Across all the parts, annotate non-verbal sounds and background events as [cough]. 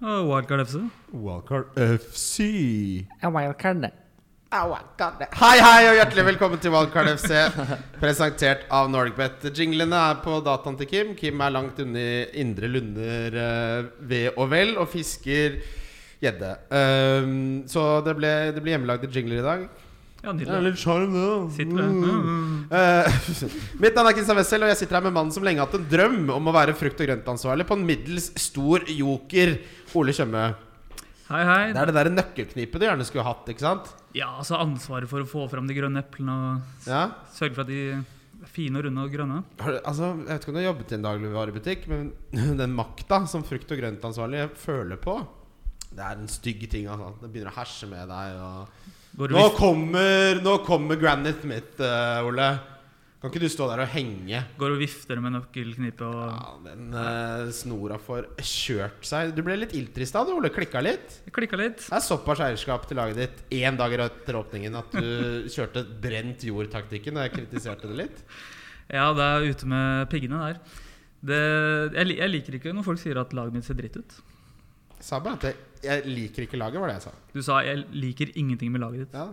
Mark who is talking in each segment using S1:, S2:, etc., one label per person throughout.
S1: Ah, Wildcard FC.
S2: Wildcard FC.
S3: Wildcard.
S4: Aua, god damn. Hei, hei og hjertelig velkommen til Wildcard FC, [laughs] presentert av NordicBet. Jinglene er på dataen til Kim. Kim er langt unna indre lunder eh, ved og vel og fisker gjedde. Um, så det ble, det ble hjemmelagde jingler i dag.
S1: Ja,
S2: Det er
S1: nydelig.
S2: litt sjarm, det. da.
S1: Sitter du? Mm.
S4: Eh, [laughs] mitt navn er Kristian Wessel, og jeg sitter her med mannen som lenge har hatt en drøm om å være frukt- og grøntansvarlig på en middels stor joker, Ole Tjøme.
S1: Hei, hei.
S4: Det er det der nøkkelknipet du gjerne skulle hatt, ikke sant?
S1: Ja, altså ansvaret for å få fram de grønne eplene og s-
S4: Ja
S1: sørge for at de er fine og runde og grønne.
S4: Har du, altså, jeg vet ikke om du har jobbet i en dagligvarebutikk, men [laughs] den makta som frukt- og grøntansvarlig føler på, det er en stygg ting. Altså. Det begynner å herse med deg. Og...
S1: Hvor
S4: Nå,
S1: vi,
S4: kommer, nå kommer Granite Smith, eh, Ole. Kan ikke du stå der og henge?
S1: går og vifter med nøkkelknippet og
S4: Ja, den eh, snora får kjørt seg. Du ble litt iltrist av det, Ole. Klikka litt.
S1: klikka litt.
S4: Det er såpass eierskap til laget ditt én dag etter åpningen at du kjørte brent jord-taktikken. Og jeg kritiserte det litt.
S1: Ja, det er ute med piggene der. Det, jeg, li- jeg liker ikke når folk sier at laget mitt ser dritt ut.
S4: Sa bare at jeg, jeg liker ikke laget, var det jeg sa.
S1: Du sa 'jeg liker ingenting med laget ditt'.
S4: Ja.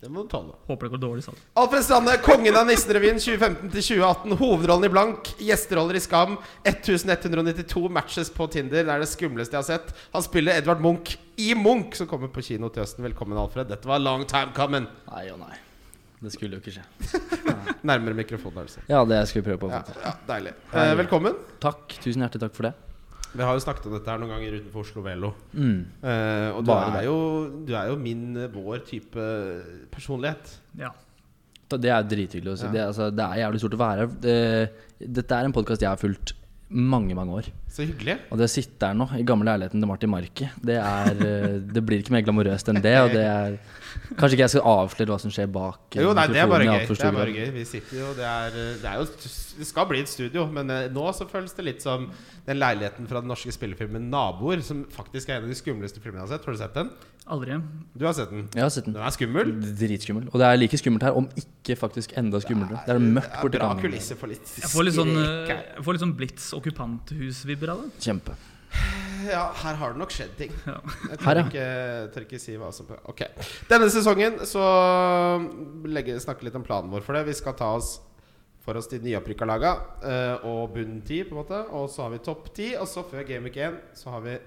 S4: Det må du tåle.
S1: Håper det går dårlig, sa du.
S4: Alfred Strande, kongen av Nissenrevyen 2015-2018. Hovedrollen i Blank, gjesteroller i Skam. 1192 matches på Tinder. Det er det skumleste jeg har sett. Han spiller Edvard Munch i Munch, som kommer på kino til høsten. Velkommen, Alfred. Dette var long time coming.
S3: Nei og nei. Det skulle jo ikke skje.
S4: Nærmere mikrofonen, altså.
S3: Ja, det jeg skulle prøve på.
S4: Ja, ja, deilig. Eh, velkommen.
S3: Takk. Tusen hjertelig takk for det.
S4: Vi har jo snakket om dette her noen ganger utenfor Oslo Velo.
S3: Mm.
S4: Eh, og du
S3: Bare
S4: er, jo, du er jo min, eh, vår type personlighet.
S1: Ja.
S3: Da- Det er drithyggelig å si.
S4: Ja.
S3: Det, er- altså, det er jævlig stort å være her. Det- Dette er en podkast jeg har fulgt mange, mange år.
S4: Så hyggelig.
S3: Og det å sitte her nå, i gamle leiligheten til Martin Marki,
S4: [laughs]
S3: det, er, eh, det blir ikke mer glamorøst enn det. Og det er Kanskje ikke jeg skal avsløre hva som skjer bak eh,
S4: Jo, nei, det er bare
S3: mikrofonen i
S4: gøy.
S3: alt for
S4: Det
S3: stor
S4: er bare
S3: grad.
S4: gøy. Vi sitter jo Det er, det er jo Det skal bli et studio, men eh, nå så føles det litt som den leiligheten fra den norske spillefilmen 'Naboer', som faktisk er en av de skumleste filmene jeg har sett. Har du sett den?
S1: Aldri.
S4: Du har sett den.
S3: Jeg har sett den.
S4: Den er skummel.
S3: Dritskummel. Og det er like skummelt her, om ikke faktisk enda skumlere. Det er mørkt
S4: Det er
S3: borti
S4: Bra
S3: gangen.
S4: kulisser for litt
S1: Jeg får litt sånn,
S4: skrek
S1: eh,
S4: her.
S1: jeg får litt sånn Blitz okkupanthus-vibber av det.
S3: Kjempe.
S4: Ja, her har det nok skjedd ting.
S1: Ja.
S4: Jeg
S3: Her,
S4: tør
S3: ja.
S4: ikke, tør ikke si hva som Ok. Denne sesongen så legge, snakke litt om planen vår for det. Vi skal ta oss for oss de nyopprykka laga eh, og bunn ti, på en måte. Og så har vi topp ti. Og så før Game Week 1 så har vi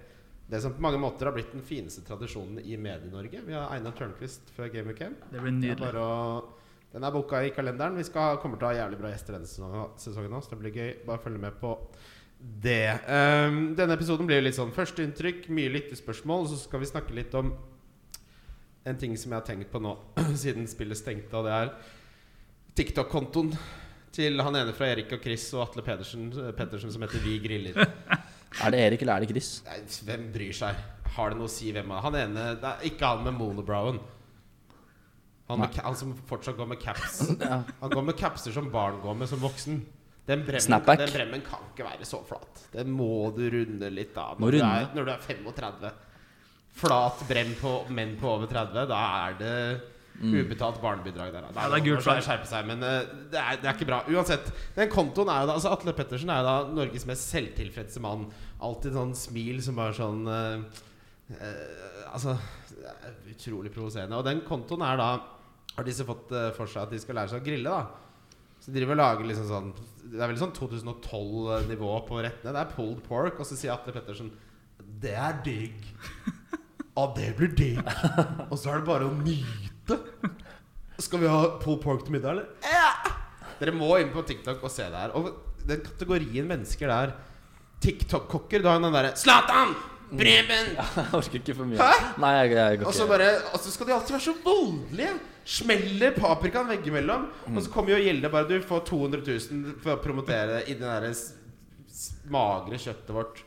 S4: det som på mange måter har blitt den fineste tradisjonen i Medie-Norge. Vi har Einar Tørnquist før Game Week 1.
S1: Det blir
S4: Det er
S1: nydelig.
S4: bare å den er booka i kalenderen. Vi skal, kommer til å ha jævlig bra gjester denne sesongen- sesongen også. Det blir gøy. Bare følg med på det. Ehm, denne episoden blir jo litt sånn førsteinntrykk, mye lyttespørsmål, og så skal vi snakke litt om en ting som jeg har tenkt på nå [clears throat] siden spillet stengte, og det er TikTok-kontoen til han ene fra Erik og Chris og Atle Pedersen, Pettersen som heter Vi griller.
S3: Er det Erik eller er det Chris?
S4: Nei, hvem bryr seg? Har det noe å si hvem han Han ene det er Ikke han med monobrowen. Han, med, ca- han som fortsatt går med caps.
S3: [laughs]
S4: Han går med capser som barn går med som voksen. Den bremmen,
S3: Snapback.
S4: den bremmen kan ikke være så flat. Den må du runde litt av
S3: Må
S4: når, du
S3: runde.
S4: er, når du er 35. Flat brem på menn på over 30, da er det ubetalt barnebidrag der.
S1: Ja, det er gult
S4: Da må man
S1: flagg.
S4: skjerpe seg, men eh, det er, det er ikke bra. Uansett, den kontoen er jo da altså Atle Pettersen er jo da Norges mest selvtilfredse mann. Alltid sånn smil som bare sånn eh, eh, Altså det er Utrolig provoserende. Og den kontoen er da Har disse fått eh, for seg at de skal lære seg å grille, da? Så de driver og lager liksom sånn Det er vel sånn 2012-nivå på rettene. Det er pulled pork, og så sier Atle Pettersen Det er digg. Ja, det blir digg. Og så er det bare å nyte. Skal vi ha pulled pork til middag, eller? Ja! Dere må inn på TikTok og se det her. Og den kategorien mennesker der TikTok-kokker, du har jo den derre Zlatan! Breben!
S3: [laughs] Jeg orker ikke for mye.
S4: Hæ?
S3: Nei, jeg, jeg,
S4: Og
S3: går
S4: så
S3: ikke.
S4: bare Og så skal de alltid være så voldelige. Smeller paprikaen veggimellom. Og så kommer jo Gjelde bare Du får 200 000 for å promotere i det derre s- s- magre kjøttet vårt.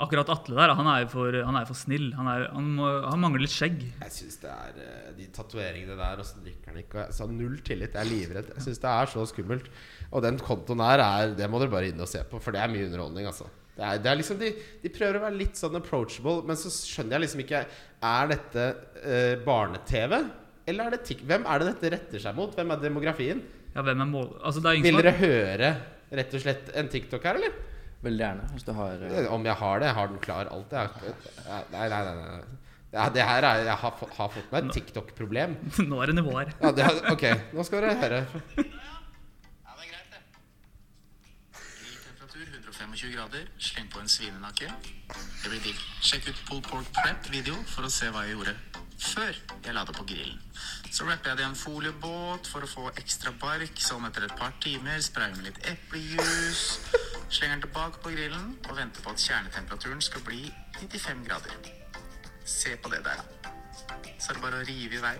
S1: Akkurat Atle der, han er jo for, han er for snill. Han, er, han, må, han mangler litt skjegg.
S4: Jeg syns det er eh, De tatoveringene der, og så drikker han ikke og jeg- Så null tillit. Jeg er livredd. Jeg syns det er så skummelt. Og den kontoen her, er, det må dere bare inn og se på, for det er mye underholdning, altså. Det er, det er liksom de, de prøver å være litt sånn approachable, men så skjønner jeg liksom ikke Er dette eh, barne-TV? Eller er det tik Hvem er det dette retter seg mot? Hvem er demografien?
S1: Ja, hvem er mål... Altså, det er ingen
S4: Vil
S1: som
S4: dere høre rett og slett en TikTok her, eller?
S3: Veldig gjerne. Hvis du har eh,
S4: Om jeg har det? Jeg har den klar. Alt jeg har Nei, nei, nei. nei. Ja, det her er, jeg har, fått- har fått meg et TikTok-problem.
S1: [laughs] Nå er det nivåer.
S4: Ja, det, ok, nå skal dere høre.
S5: Ja, det er greit, det. Gril temperatur 125 grader. Sleng på en svinenakke. Det blir digg. Sjekk ut Pull Pork Prep-video for å se hva jeg gjorde før jeg la det på grillen. Så wrapper jeg det i en foliebåt for å få ekstra bark. Sånn etter et par timer sprayer med litt eplejus. Slenger den tilbake på grillen og venter på at kjernetemperaturen skal bli 95 grader. Se på det der. Så er det bare å rive i vei.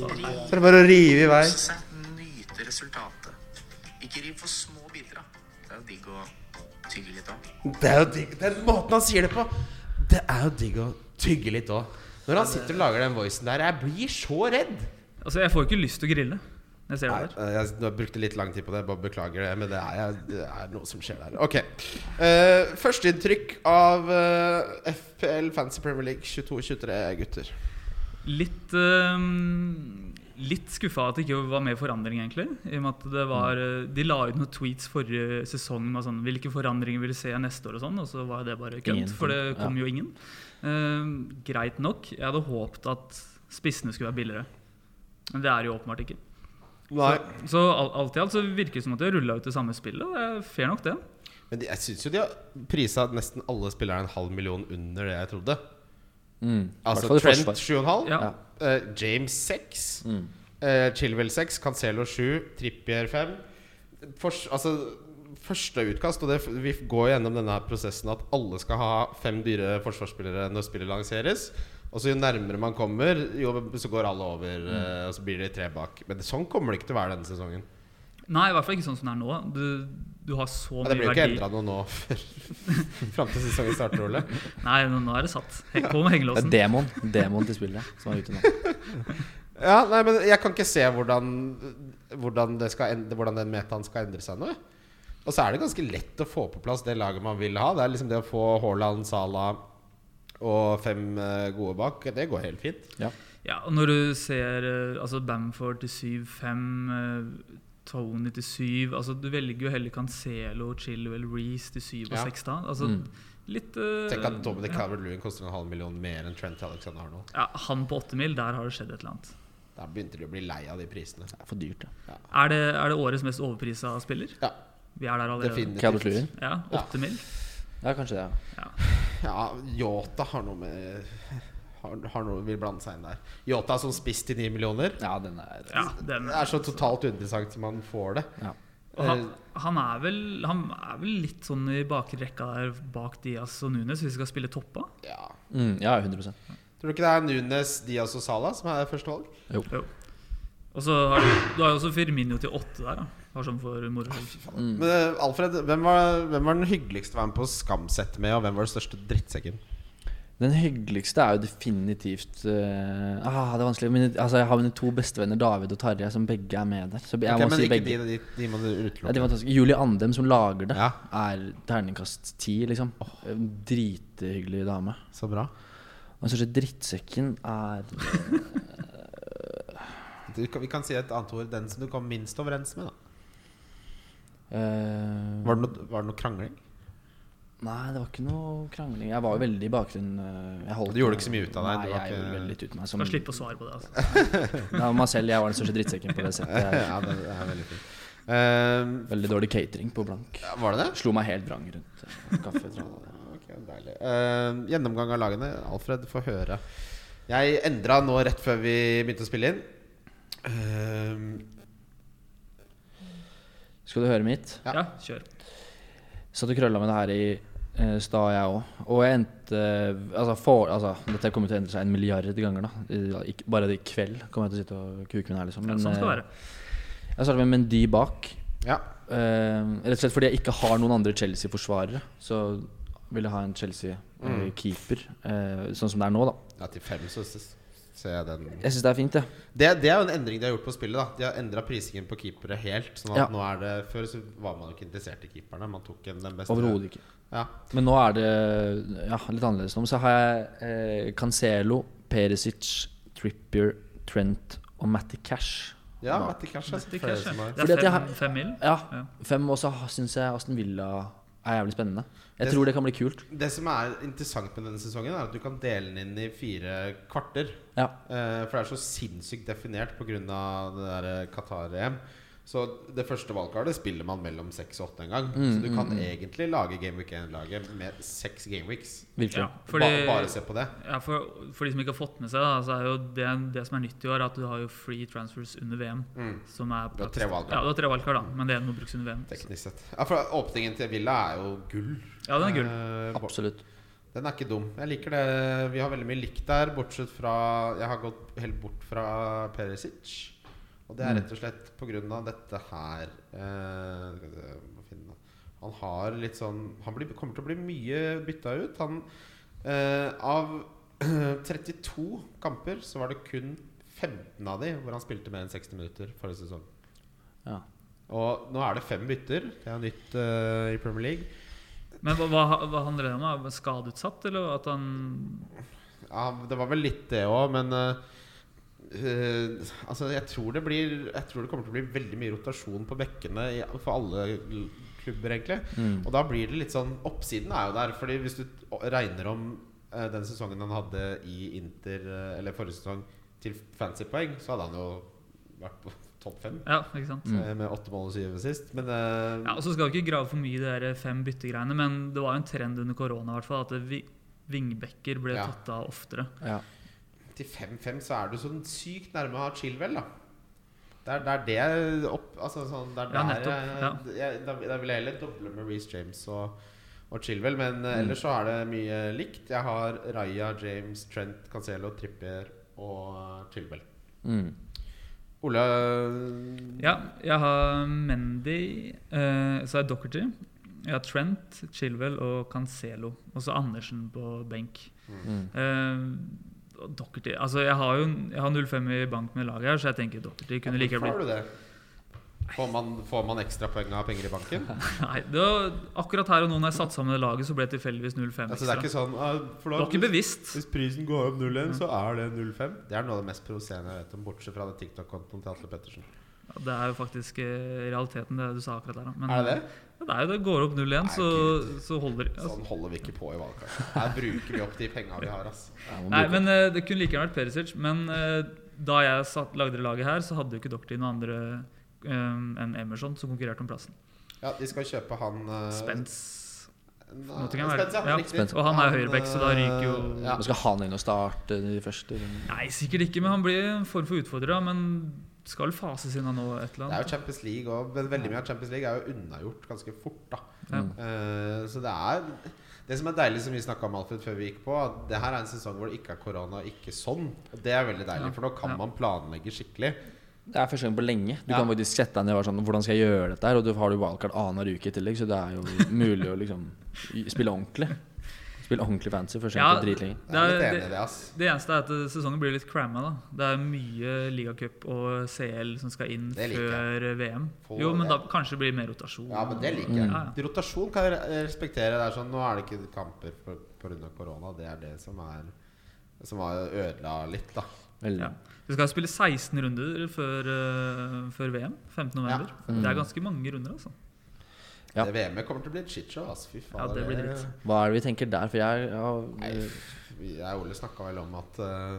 S5: Rive
S4: Så er det bare å rive i vei.
S5: Kose seg, nyte resultatet. Ikke riv for små biter, da. Det er jo digg å tygge litt òg.
S4: Det er jo digg. Den måten han sier det på. Det er jo digg å tygge litt òg. Når han sitter og lager den voicen der, jeg blir så redd.
S1: Altså, jeg får ikke lyst til å grille. når Jeg ser det der.
S4: Nei, jeg nå brukte litt lang tid på det, bare beklager det. Men det er, jeg, det er noe som skjer der. Ok. Eh, Førsteinntrykk av eh, FPL Fancy Premier League 22-23, gutter.
S1: Litt ehm, Litt skuffa at det ikke var mer forandring, egentlig. I og med at det var eh, De la ut noen tweets forrige sesong med sånn Hvilke forandringer vil du se neste år, og sånn. Og så var det bare
S3: Ingen
S1: kødd,
S3: kom.
S1: for det kom
S3: Ja.
S1: jo ingen. Ehm, greit nok. Jeg hadde håpet at spissene skulle være billigere. Men det er jo åpenbart ikke.
S4: Nei.
S1: Så al- alt i alt så virker det som at de har rulla ut det samme spillet. og Det er fair nok, det.
S4: Men de, jeg syns jo de har prisa nesten alle spillere en halv million under det jeg trodde.
S3: mm, i hvert
S4: Altså
S3: fall i
S4: Trent
S3: forsvar.
S4: 7,5.
S1: Ja.
S3: Ja.
S4: Eh, James 6.
S3: Mm.
S4: eh, Chilwell 6. Cancelo 7. Trippier 5. Fors, altså, første utkast, og det, f- vi går gjennom denne her prosessen at alle skal ha fem dyre forsvarsspillere når spillet lanseres. Og så Jo nærmere man kommer, jo så går alle over, eh, og så blir det tre bak. Men sånn kommer det ikke til å være denne sesongen.
S1: Nei, i hvert fall ikke sånn som det er nå. Du, du har så mye
S4: Ja, det blir jo ikke
S1: verdi.
S4: endra noe nå [laughs] fram til sesongen starter, Ole.
S1: Nei, nå nå er det satt. Heng- På med
S3: Det er
S1: hengelåsen.
S3: demon. Demon til spillet som er ute nå.
S4: Ja, nei, men jeg kan ikke se hvordan Hvordan, det skal ende, hvordan den metaen skal endre seg nå. Og så er det ganske lett å få på plass det laget man vil ha. Det er liksom det å få Haaland, Salah og fem eh, gode bak. Det går helt fint.
S3: Ja.
S1: Ja, og når du ser eh, altså Bamford til 7-5, eh, Tony til 7 altså Du velger jo heller Cancelo, Chilwell, Reece til 7 og
S4: Ja.
S1: 6 da. Altså,
S3: Mm.
S1: litt eh,
S4: Tenk at Dominic Calvert-Lewin koster en halv million mer enn Trent Alexander Arnold.
S1: ja, Han på 8 mil, der har det skjedd et eller annet.
S4: Da begynte de å bli lei av de prisene.
S3: Det er for dyrt, ja.
S1: Er det, er det årets mest overprisa spiller?
S4: Ja,
S1: Vi er der allerede.
S3: Calvert-Lewin.
S4: definitivt.
S1: Ja, 8 mil.
S3: Ja, kanskje det. ja.
S4: Ja, Yota har noe med har, har noe vil blande seg inn der. Yota som spiss til ni millioner.
S3: Ja, den er
S1: Ja, den,
S4: Det er så totalt uinteressant som man får det.
S3: Ja.
S1: og han,
S3: Eh,
S1: han, er vel, han er vel litt sånn i bakre rekka der bak Diaz og Nunes, hvis vi skal spille toppa.
S4: Ja,
S3: Mm, ja 100
S4: Tror du ikke det er Nunes, Diaz og Salah som er førstevalg?
S1: Jo. Og så har du, du har jo også Firmino til 8 der, da. Bare sånn for moro skyld.
S4: Men eh, Alfred, hvem var, hvem var den hyggeligste å være med på Skamsett med, og hvem var den største drittsekken?
S3: Den hyggeligste er jo definitivt eh, ah, Det er vanskelig. Mine, altså, jeg har mine to bestevenner, David og Tarjei, som begge er med der. Så jeg
S4: Ok,
S3: må
S4: men
S3: si
S4: ikke
S3: begge.
S4: de, de, de må du
S3: Ja, de
S4: utelukke.
S3: var fantastiske. Julie Andem, som lager det,
S4: Ja.
S3: er terningkast ti, liksom. En Drithyggelig dame.
S4: Så bra.
S3: Og den største drittsekken er
S4: Du, kan- vi kan si et annet ord. Den som du kom minst overens med, da.
S3: eh,
S4: Var det noe, var det noe krangling?
S3: Nei, det var ikke noe krangling. Jeg var jo veldig i bakgrunnen. eh, Jeg holdt
S4: Du gjorde ikke så mye ut av deg,
S3: Nei,
S4: du var
S3: jeg
S4: ikke-
S3: gjorde veldig litt ut av meg. Som,
S1: Skal slippe å svare på det. altså
S3: det var meg selv. Jeg var den største drittsekken på det
S4: [laughs]
S3: settet. Jeg-
S4: ja, det det er veldig fint. Eh,
S3: Veldig dårlig catering på blank.
S4: ja, var det det?
S3: Slo meg helt vrang rundt eh, kaffe. tror jeg.
S4: Ok, deilig. Eh, gjennomgang av lagene. Alfred, få høre. Jeg endra nå rett før vi begynte å spille inn. Eh,
S3: Skal du høre mitt?
S4: Ja.
S1: Ja, kjør.
S3: Satt og krølla med det her i eh, stad, jeg òg. Og jeg endte altså, for, altså, Dette kommer til å endre seg en milliard ganger. da I- ikke- Bare i kveld kommer jeg til å sitte og kuke min her, liksom.
S1: Ja, sånn skal det
S3: eh,
S1: være.
S3: jeg starta med Mendy bak.
S4: ja.
S3: Eh, rett og slett fordi jeg ikke har noen andre Chelsea-forsvarere. Så vil jeg ha en Mm. Chelsea-keeper, sånn som det er nå, da.
S4: ja, til fem så s- ser jeg den
S3: Jeg syns det er fint, jeg.
S4: Det, det er jo en endring de har gjort på spillet. da De har endra prisingen på keepere helt. Sånn at
S3: Ja.
S4: nå er det Før så var man jo ikke interessert i keeperne. Man tok en, den beste.
S3: Overhodet ikke.
S4: Ja.
S3: Men nå er det ja, litt annerledes nå. Men så har jeg eh, Cancelo, Perisic, Trippier, Trent og Matty Cash.
S4: Ja,
S3: Bak.
S4: Matti Cash er
S1: Matti
S4: flere
S1: Cash,
S4: som
S1: ja.
S4: har
S1: Det
S3: Fordi
S1: er
S3: at jeg
S1: fem,
S3: har-
S1: fem mil.
S3: Ja,
S1: Ja.
S3: fem. Og så syns jeg Aston Villa er jævlig spennende. Jeg
S4: Det-
S3: tror det kan bli kult.
S4: Det som er interessant med denne sesongen, er at du kan dele den inn i fire kvarter.
S3: Ja.
S4: Eh, For det er så sinnssykt definert pga. det der eh, Qatar-EM. Så det første valgkartet spiller man mellom seks og åtte en gang.
S3: Mm,
S4: så du kan egentlig lage Game Week 1-laget med seks Game Weeks.
S3: Virkelig.
S1: Ja, fordi-
S4: Ba, bare se på det.
S1: Ja, for, for de som ikke har fått med seg, da, så er jo det, det som er nytt i år, at du har jo free transfers under VM. Som er
S4: Mm. Du har tre valgkart.
S1: Ja, du har tre valgkart, da, men det er noe brukes under VM. Så.
S4: Teknisk sett. Ja, for Åpningen til Villa er jo gull.
S1: Ja, den er gull.
S4: Eh, bo-
S3: Absolutt.
S4: Den er ikke dum. Jeg liker det. Vi har veldig mye likt der, bortsett fra Jeg har gått helt bort fra Perisic. Og det er rett og slett på grunn av dette her eh, skal vi se, jeg må finne det. Han har litt sånn Han blir, kommer til å bli mye bytta ut. Han eh, Av [clears throat] 32 kamper så var det kun 15 av de hvor han spilte mer enn 60 minutter forrige sesong.
S3: Ja.
S4: Og nå er det fem bytter. Det er nytt eh, i Premier League.
S1: Men hva, hva, hva handler det om? da? Er han Skadeutsatt, eller at han
S4: Ja, det var vel litt det òg, men eh, eh, Altså, jeg tror det blir Jeg tror det kommer til å bli veldig mye rotasjon på bekkene i, for alle l- klubber, egentlig.
S3: Mm.
S4: Og da blir det litt sånn Oppsiden er jo der, Fordi hvis du t- regner om eh, den sesongen han hadde i Inter, eh, eller forrige sesong, til fancypoeng, så hadde han jo vært på topp fem.
S1: Ja, ikke sant?
S4: eh, Med åtte mål og syv sist. Men eh,
S1: Ja, og så skal vi ikke grave for mye i de der fem byttegreiene, men det var jo en trend under korona i hvert fall, at det vi- vingbekker ble
S4: Ja.
S1: tatt av oftere.
S3: Ja.
S4: til 5-5 så er du sånn sykt nærme å ha Chilwell, da. Det er, det er det opp, altså sånn, det
S1: Ja,
S4: er der
S1: nettopp,
S4: jeg, jeg, da, da vil jeg heller doble med Reece James og, og Chilwell. Men eh,
S1: Mm.
S4: ellers så er det mye likt. Jeg har Raja, James, Trent, Cancelo, Trippier og Chilwell.
S3: Mm.
S4: Ole eh,
S1: Ja, jeg har Mendy, eh, så er Doherty. Jeg har Trent, Chilwell og Cancelo. Og så Andersen på benk.
S4: Mm.
S1: Eh, og Doherty Altså, jeg har jo jeg har 05 i bank med laget her, så jeg tenker Doherty kunne like
S4: hvorfor
S1: gjerne
S4: har
S1: blitt
S4: du det? Får man, får man ekstrapoeng av penger i
S1: [laughs]
S4: banken?
S1: Nei, det var akkurat her og nå når jeg satte sammen det laget, så ble det tilfeldigvis 05
S4: Altså, det
S1: ekstra.
S4: er ikke sånn ah, for
S1: Det
S4: da-
S1: var ikke bevisst.
S2: Hvis prisen går opp 0-1, så er det 0-5.
S4: Det er noe av det mest provoserende jeg vet om, bortsett fra det TikTok-kontoen til Atle Pettersen.
S1: Ja, Det er jo faktisk eh, realiteten, det du sa akkurat der. da. Men,
S4: Er det det?
S1: Mm. Ja, det er jo det. Går opp 0-1, så, så holder altså,
S4: Sånn holder vi ikke på i valgkamp. Her bruker vi opp de penga vi har. Ass.
S3: Ja, man
S1: Nei,
S3: bruker-
S1: men eh, det kunne like gjerne vært Perisic. Men eh, da jeg satt, lagde det laget her, så hadde jo ikke Doctor noen andre eh, enn Emerson som konkurrerte om plassen.
S4: Ja, De skal kjøpe han eh,
S1: Spence
S4: Nei,
S1: Nottingham er det.
S4: Spence,
S1: Ja,
S4: riktig.
S3: Spence.
S1: Og han er
S4: Han,
S1: høyreback, så da
S4: eh,
S1: ryker jo-
S4: ja.
S3: Men Skal han inn og starte de første? rundene?
S1: Nei, sikkert ikke, men han blir en form for utfordrer. da, Men skal fases inn av nå et eller
S4: Det er jo
S1: annet.
S4: Champions League og ve- Veldig mye av Champions League er jo unnagjort ganske fort. da
S1: Ja.
S4: Eh, Så det er Det som er deilig, som vi snakka om Alfred før vi gikk på, at det her er en sesong hvor det ikke er korona, ikke sånn. Og det er veldig deilig,
S1: Ja.
S4: for nå kan
S1: Ja.
S4: man planlegge skikkelig.
S3: Det er første gang på lenge. Du
S4: Ja.
S3: kan faktisk sette deg ned og være sånn Hvordan skal jeg gjøre dette her? Og du har jo wildcard annenhver uke i tillegg, så det er jo mulig å liksom i- spille ordentlig. Spille ordentlig fancy første gang
S1: Ja,
S3: på dritlenge.
S4: Jeg er litt
S1: Det er-
S4: enig i det, ass.
S1: Det eneste er at eh, sesongen blir litt cramma. da. Det er mye ligacup og CL som skal inn
S4: Det liker
S1: før eh, VM.
S4: Få
S1: Jo, men
S4: det.
S1: da kanskje det blir mer rotasjon.
S4: Ja, men det liker jeg.
S1: Mm.
S4: Rotasjon kan jeg re- respektere. Det er sånn, Nå er det ikke kamper pga. korona. Det er det som er Som har ødela litt, da.
S3: Veldig.
S1: Ja. Vi skal spille 16 runder før, eh, før VM. 15. november.
S3: Mm.
S1: Det er ganske mange runder, altså.
S3: Ja.
S4: Det VM-et kommer til å bli et shitshow. ass. Fy faen.
S1: Ja, det blir dritt.
S3: Hva er det vi tenker der? For jeg eh, ja,
S4: Nei, vi- Jeg og Ole snakka vel om at eh,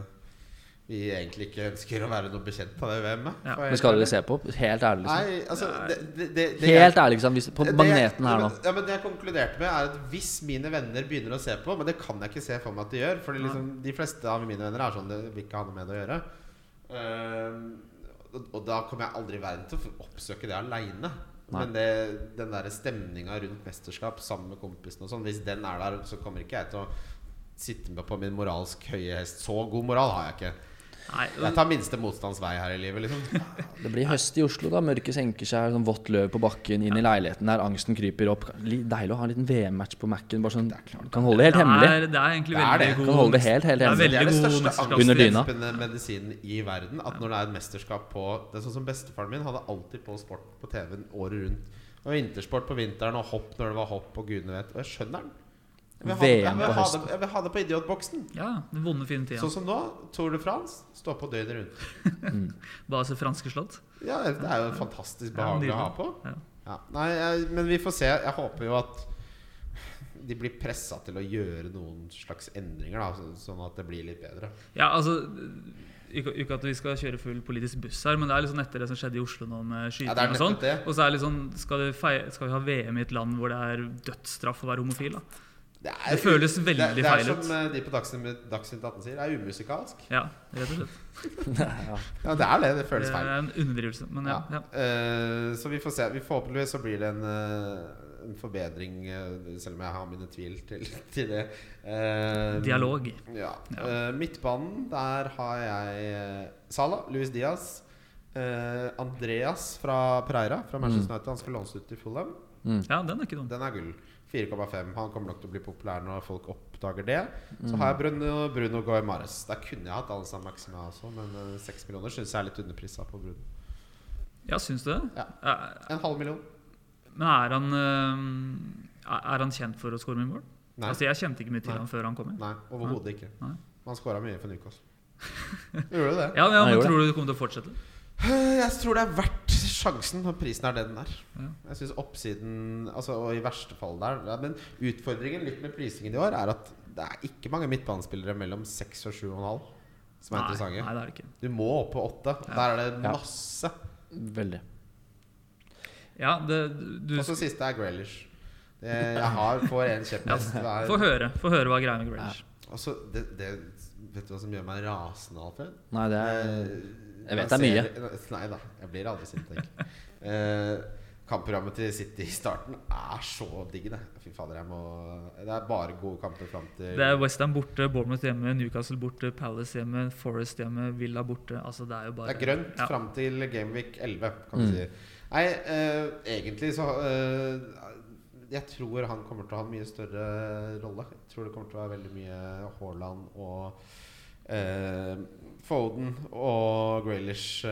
S4: vi egentlig ikke ønsker å være noe bekjent av det VM-et.
S1: Ja.
S4: For-
S3: Men skal dere se på? Helt ærlig, liksom.
S4: Nei, altså det, det, det, det
S3: Helt ærlig, liksom. Hvis, på
S4: det jeg-
S3: magneten her nå.
S4: Ja, men Det jeg konkluderte med, er at hvis mine venner begynner å se på Men det kan jeg ikke se for meg at de gjør, for liksom, de fleste av mine venner er sånn Det vil ikke ha noe med det å gjøre. Ehm, og, og da kommer jeg aldri i verden til å oppsøke det aleine.
S3: Nei.
S4: Men det, den der stemninga rundt mesterskap sammen med kompisene og sånn, hvis den er der, så kommer ikke jeg til å sitte med på min moralsk høye hest. Så god moral har jeg ikke.
S1: Nei,
S4: Jeg tar minste motstands vei her i livet, liksom.
S3: Det blir høst i Oslo, da. Mørket senker seg, sånn vått løv på bakken, inn i leiligheten der, angsten kryper opp. Li- Deilig å ha en liten VM-match på Mac-en. Bare sånn, kan holde det helt
S1: det,
S3: hemmelig.
S1: er, det er egentlig
S4: Det er
S1: veldig
S4: det.
S1: god
S3: Kan holde det helt, helt
S1: Det er
S3: hemmelig.
S4: Det er det
S1: veldig god
S4: største
S1: mesterskapsfrihet.
S3: Under dyna.
S4: angstdempende medisinen i verden. At når det er et mesterskap på Det er sånn som bestefaren min hadde alltid på sport på TV-en året rundt. Og vintersport på vinteren og hopp når det var hopp og gudene vet. Og jeg skjønner den. Jeg vil ha det- jeg
S3: VM på
S4: vil ha
S3: høsten.
S4: det- Jeg vil ha det på idiotboksen.
S1: Ja, den vonde, fine tida.
S4: Sånn som nå. Tour de France. Stå på døgnet rundt.
S1: Base franske slott.
S4: Ja, det er jo fantastisk
S1: Ja,
S4: behagelig
S1: nydelig.
S4: å ha på.
S1: Ja.
S4: Ja. Nei, jeg, men vi får se. Jeg håper jo at de blir pressa til å gjøre noen slags endringer, da, så- sånn at det blir litt bedre.
S1: Ja, altså ikke, ikke at vi skal kjøre full politisk buss her, men det er litt sånn etter det som skjedde i Oslo nå med skyting
S4: Ja, det er
S1: og sånn.
S4: nettopp det.
S1: Og så er det litt sånn skal, det fei, skal vi ha VM i et land hvor det er dødsstraff å være homofil, da?
S4: er-
S1: Det føles veldig
S4: det, det er
S1: feil ut.
S4: som eh, de på Dagsnytt Dagsnytt 18 sier, det er umusikalsk.
S1: Ja, rett og slett.
S4: Ja, det er det. Det
S1: Det
S4: føles feil.
S1: er en underdrivelse, men ja. Eh, ja.
S4: Eh, så vi får se. Vi Forhåpentligvis så blir det en, eh, en forbedring, eh, selv om jeg har mine tvil til, [laughs] til det. Eh,
S1: Dialog.
S4: Ja.
S1: Ja.
S4: Eh, midtbanen, der har jeg eh, Salah, Luis Diaz, eh, Andreas fra Pereira fra Manchester United. Han skal lånes ut til Fulham.
S1: Ja, den er ikke dum.
S4: Den er gull. 4,5. Han kommer nok til å bli populær når folk oppdager det.
S1: Mm.
S4: Så har jeg Bruno, Bruno Guaymares. Der kunne jeg hatt Alexander Maxima også, men eh, seks millioner syns jeg er litt underprisa på Bruno.
S1: Ja, syns du det?
S4: Ja.
S1: Er-
S4: En halv million.
S1: Men er han, øhm, er er han kjent for å score mye mål?
S4: Nei.
S1: Altså, jeg kjente ikke mye til
S4: Nei.
S1: han før han kom inn.
S4: Nei, overhodet ikke.
S1: Nei.
S4: Man scora mye
S1: [laughs]
S4: for Newcastle. Gjorde du det? Eh,
S1: Ja, ja,
S3: Han
S1: men
S3: gjorde
S1: Tror du det kommer til å fortsette?
S4: Jeg tror det er verdt sjansen når prisen er det den er.
S1: Ja.
S4: Jeg synes oppsiden altså, Og i verste fall der. ja, Men utfordringen litt med prisingen i år er at det er ikke mange midtbanespillere mellom 6 og 7,5 som er
S1: nei,
S4: interessante.
S1: nei, det er det ikke.
S4: Du må opp på 8. Der er det
S3: Ja.
S4: masse.
S3: Veldig.
S1: Ja, det, du,
S4: Og så siste er Grealish.
S3: [laughs]
S4: Det- Jeg har, får en
S1: ja,
S4: kjepphest
S1: Få
S4: hver.
S1: høre, få høre hva greia med Grealish
S4: Og så det, det, vet du hva som gjør meg rasende, Alfred?
S3: Nei, det er
S4: Eh,
S3: Jeg vet det er
S4: man ser- Nei da, jeg blir aldri sint. tenk. Eh, kampprogrammet til City i starten er så digg, det. Fy fader, jeg må Det er bare gode kamper fram til
S1: Det er Westham borte, Bournemouth hjemme, Newcastle borte, Palace hjemme, Forest hjemme, Villa borte. Altså, det er jo bare
S4: Det er grønt
S1: Ja.
S4: fram til Gameweek 11, kan vi
S3: Mm.
S4: si. Nei, eh, egentlig så eh, Jeg tror han kommer til å ha en mye større rolle. Jeg tror det kommer til å være veldig mye Haaland og eh, Foden og Grealish eh,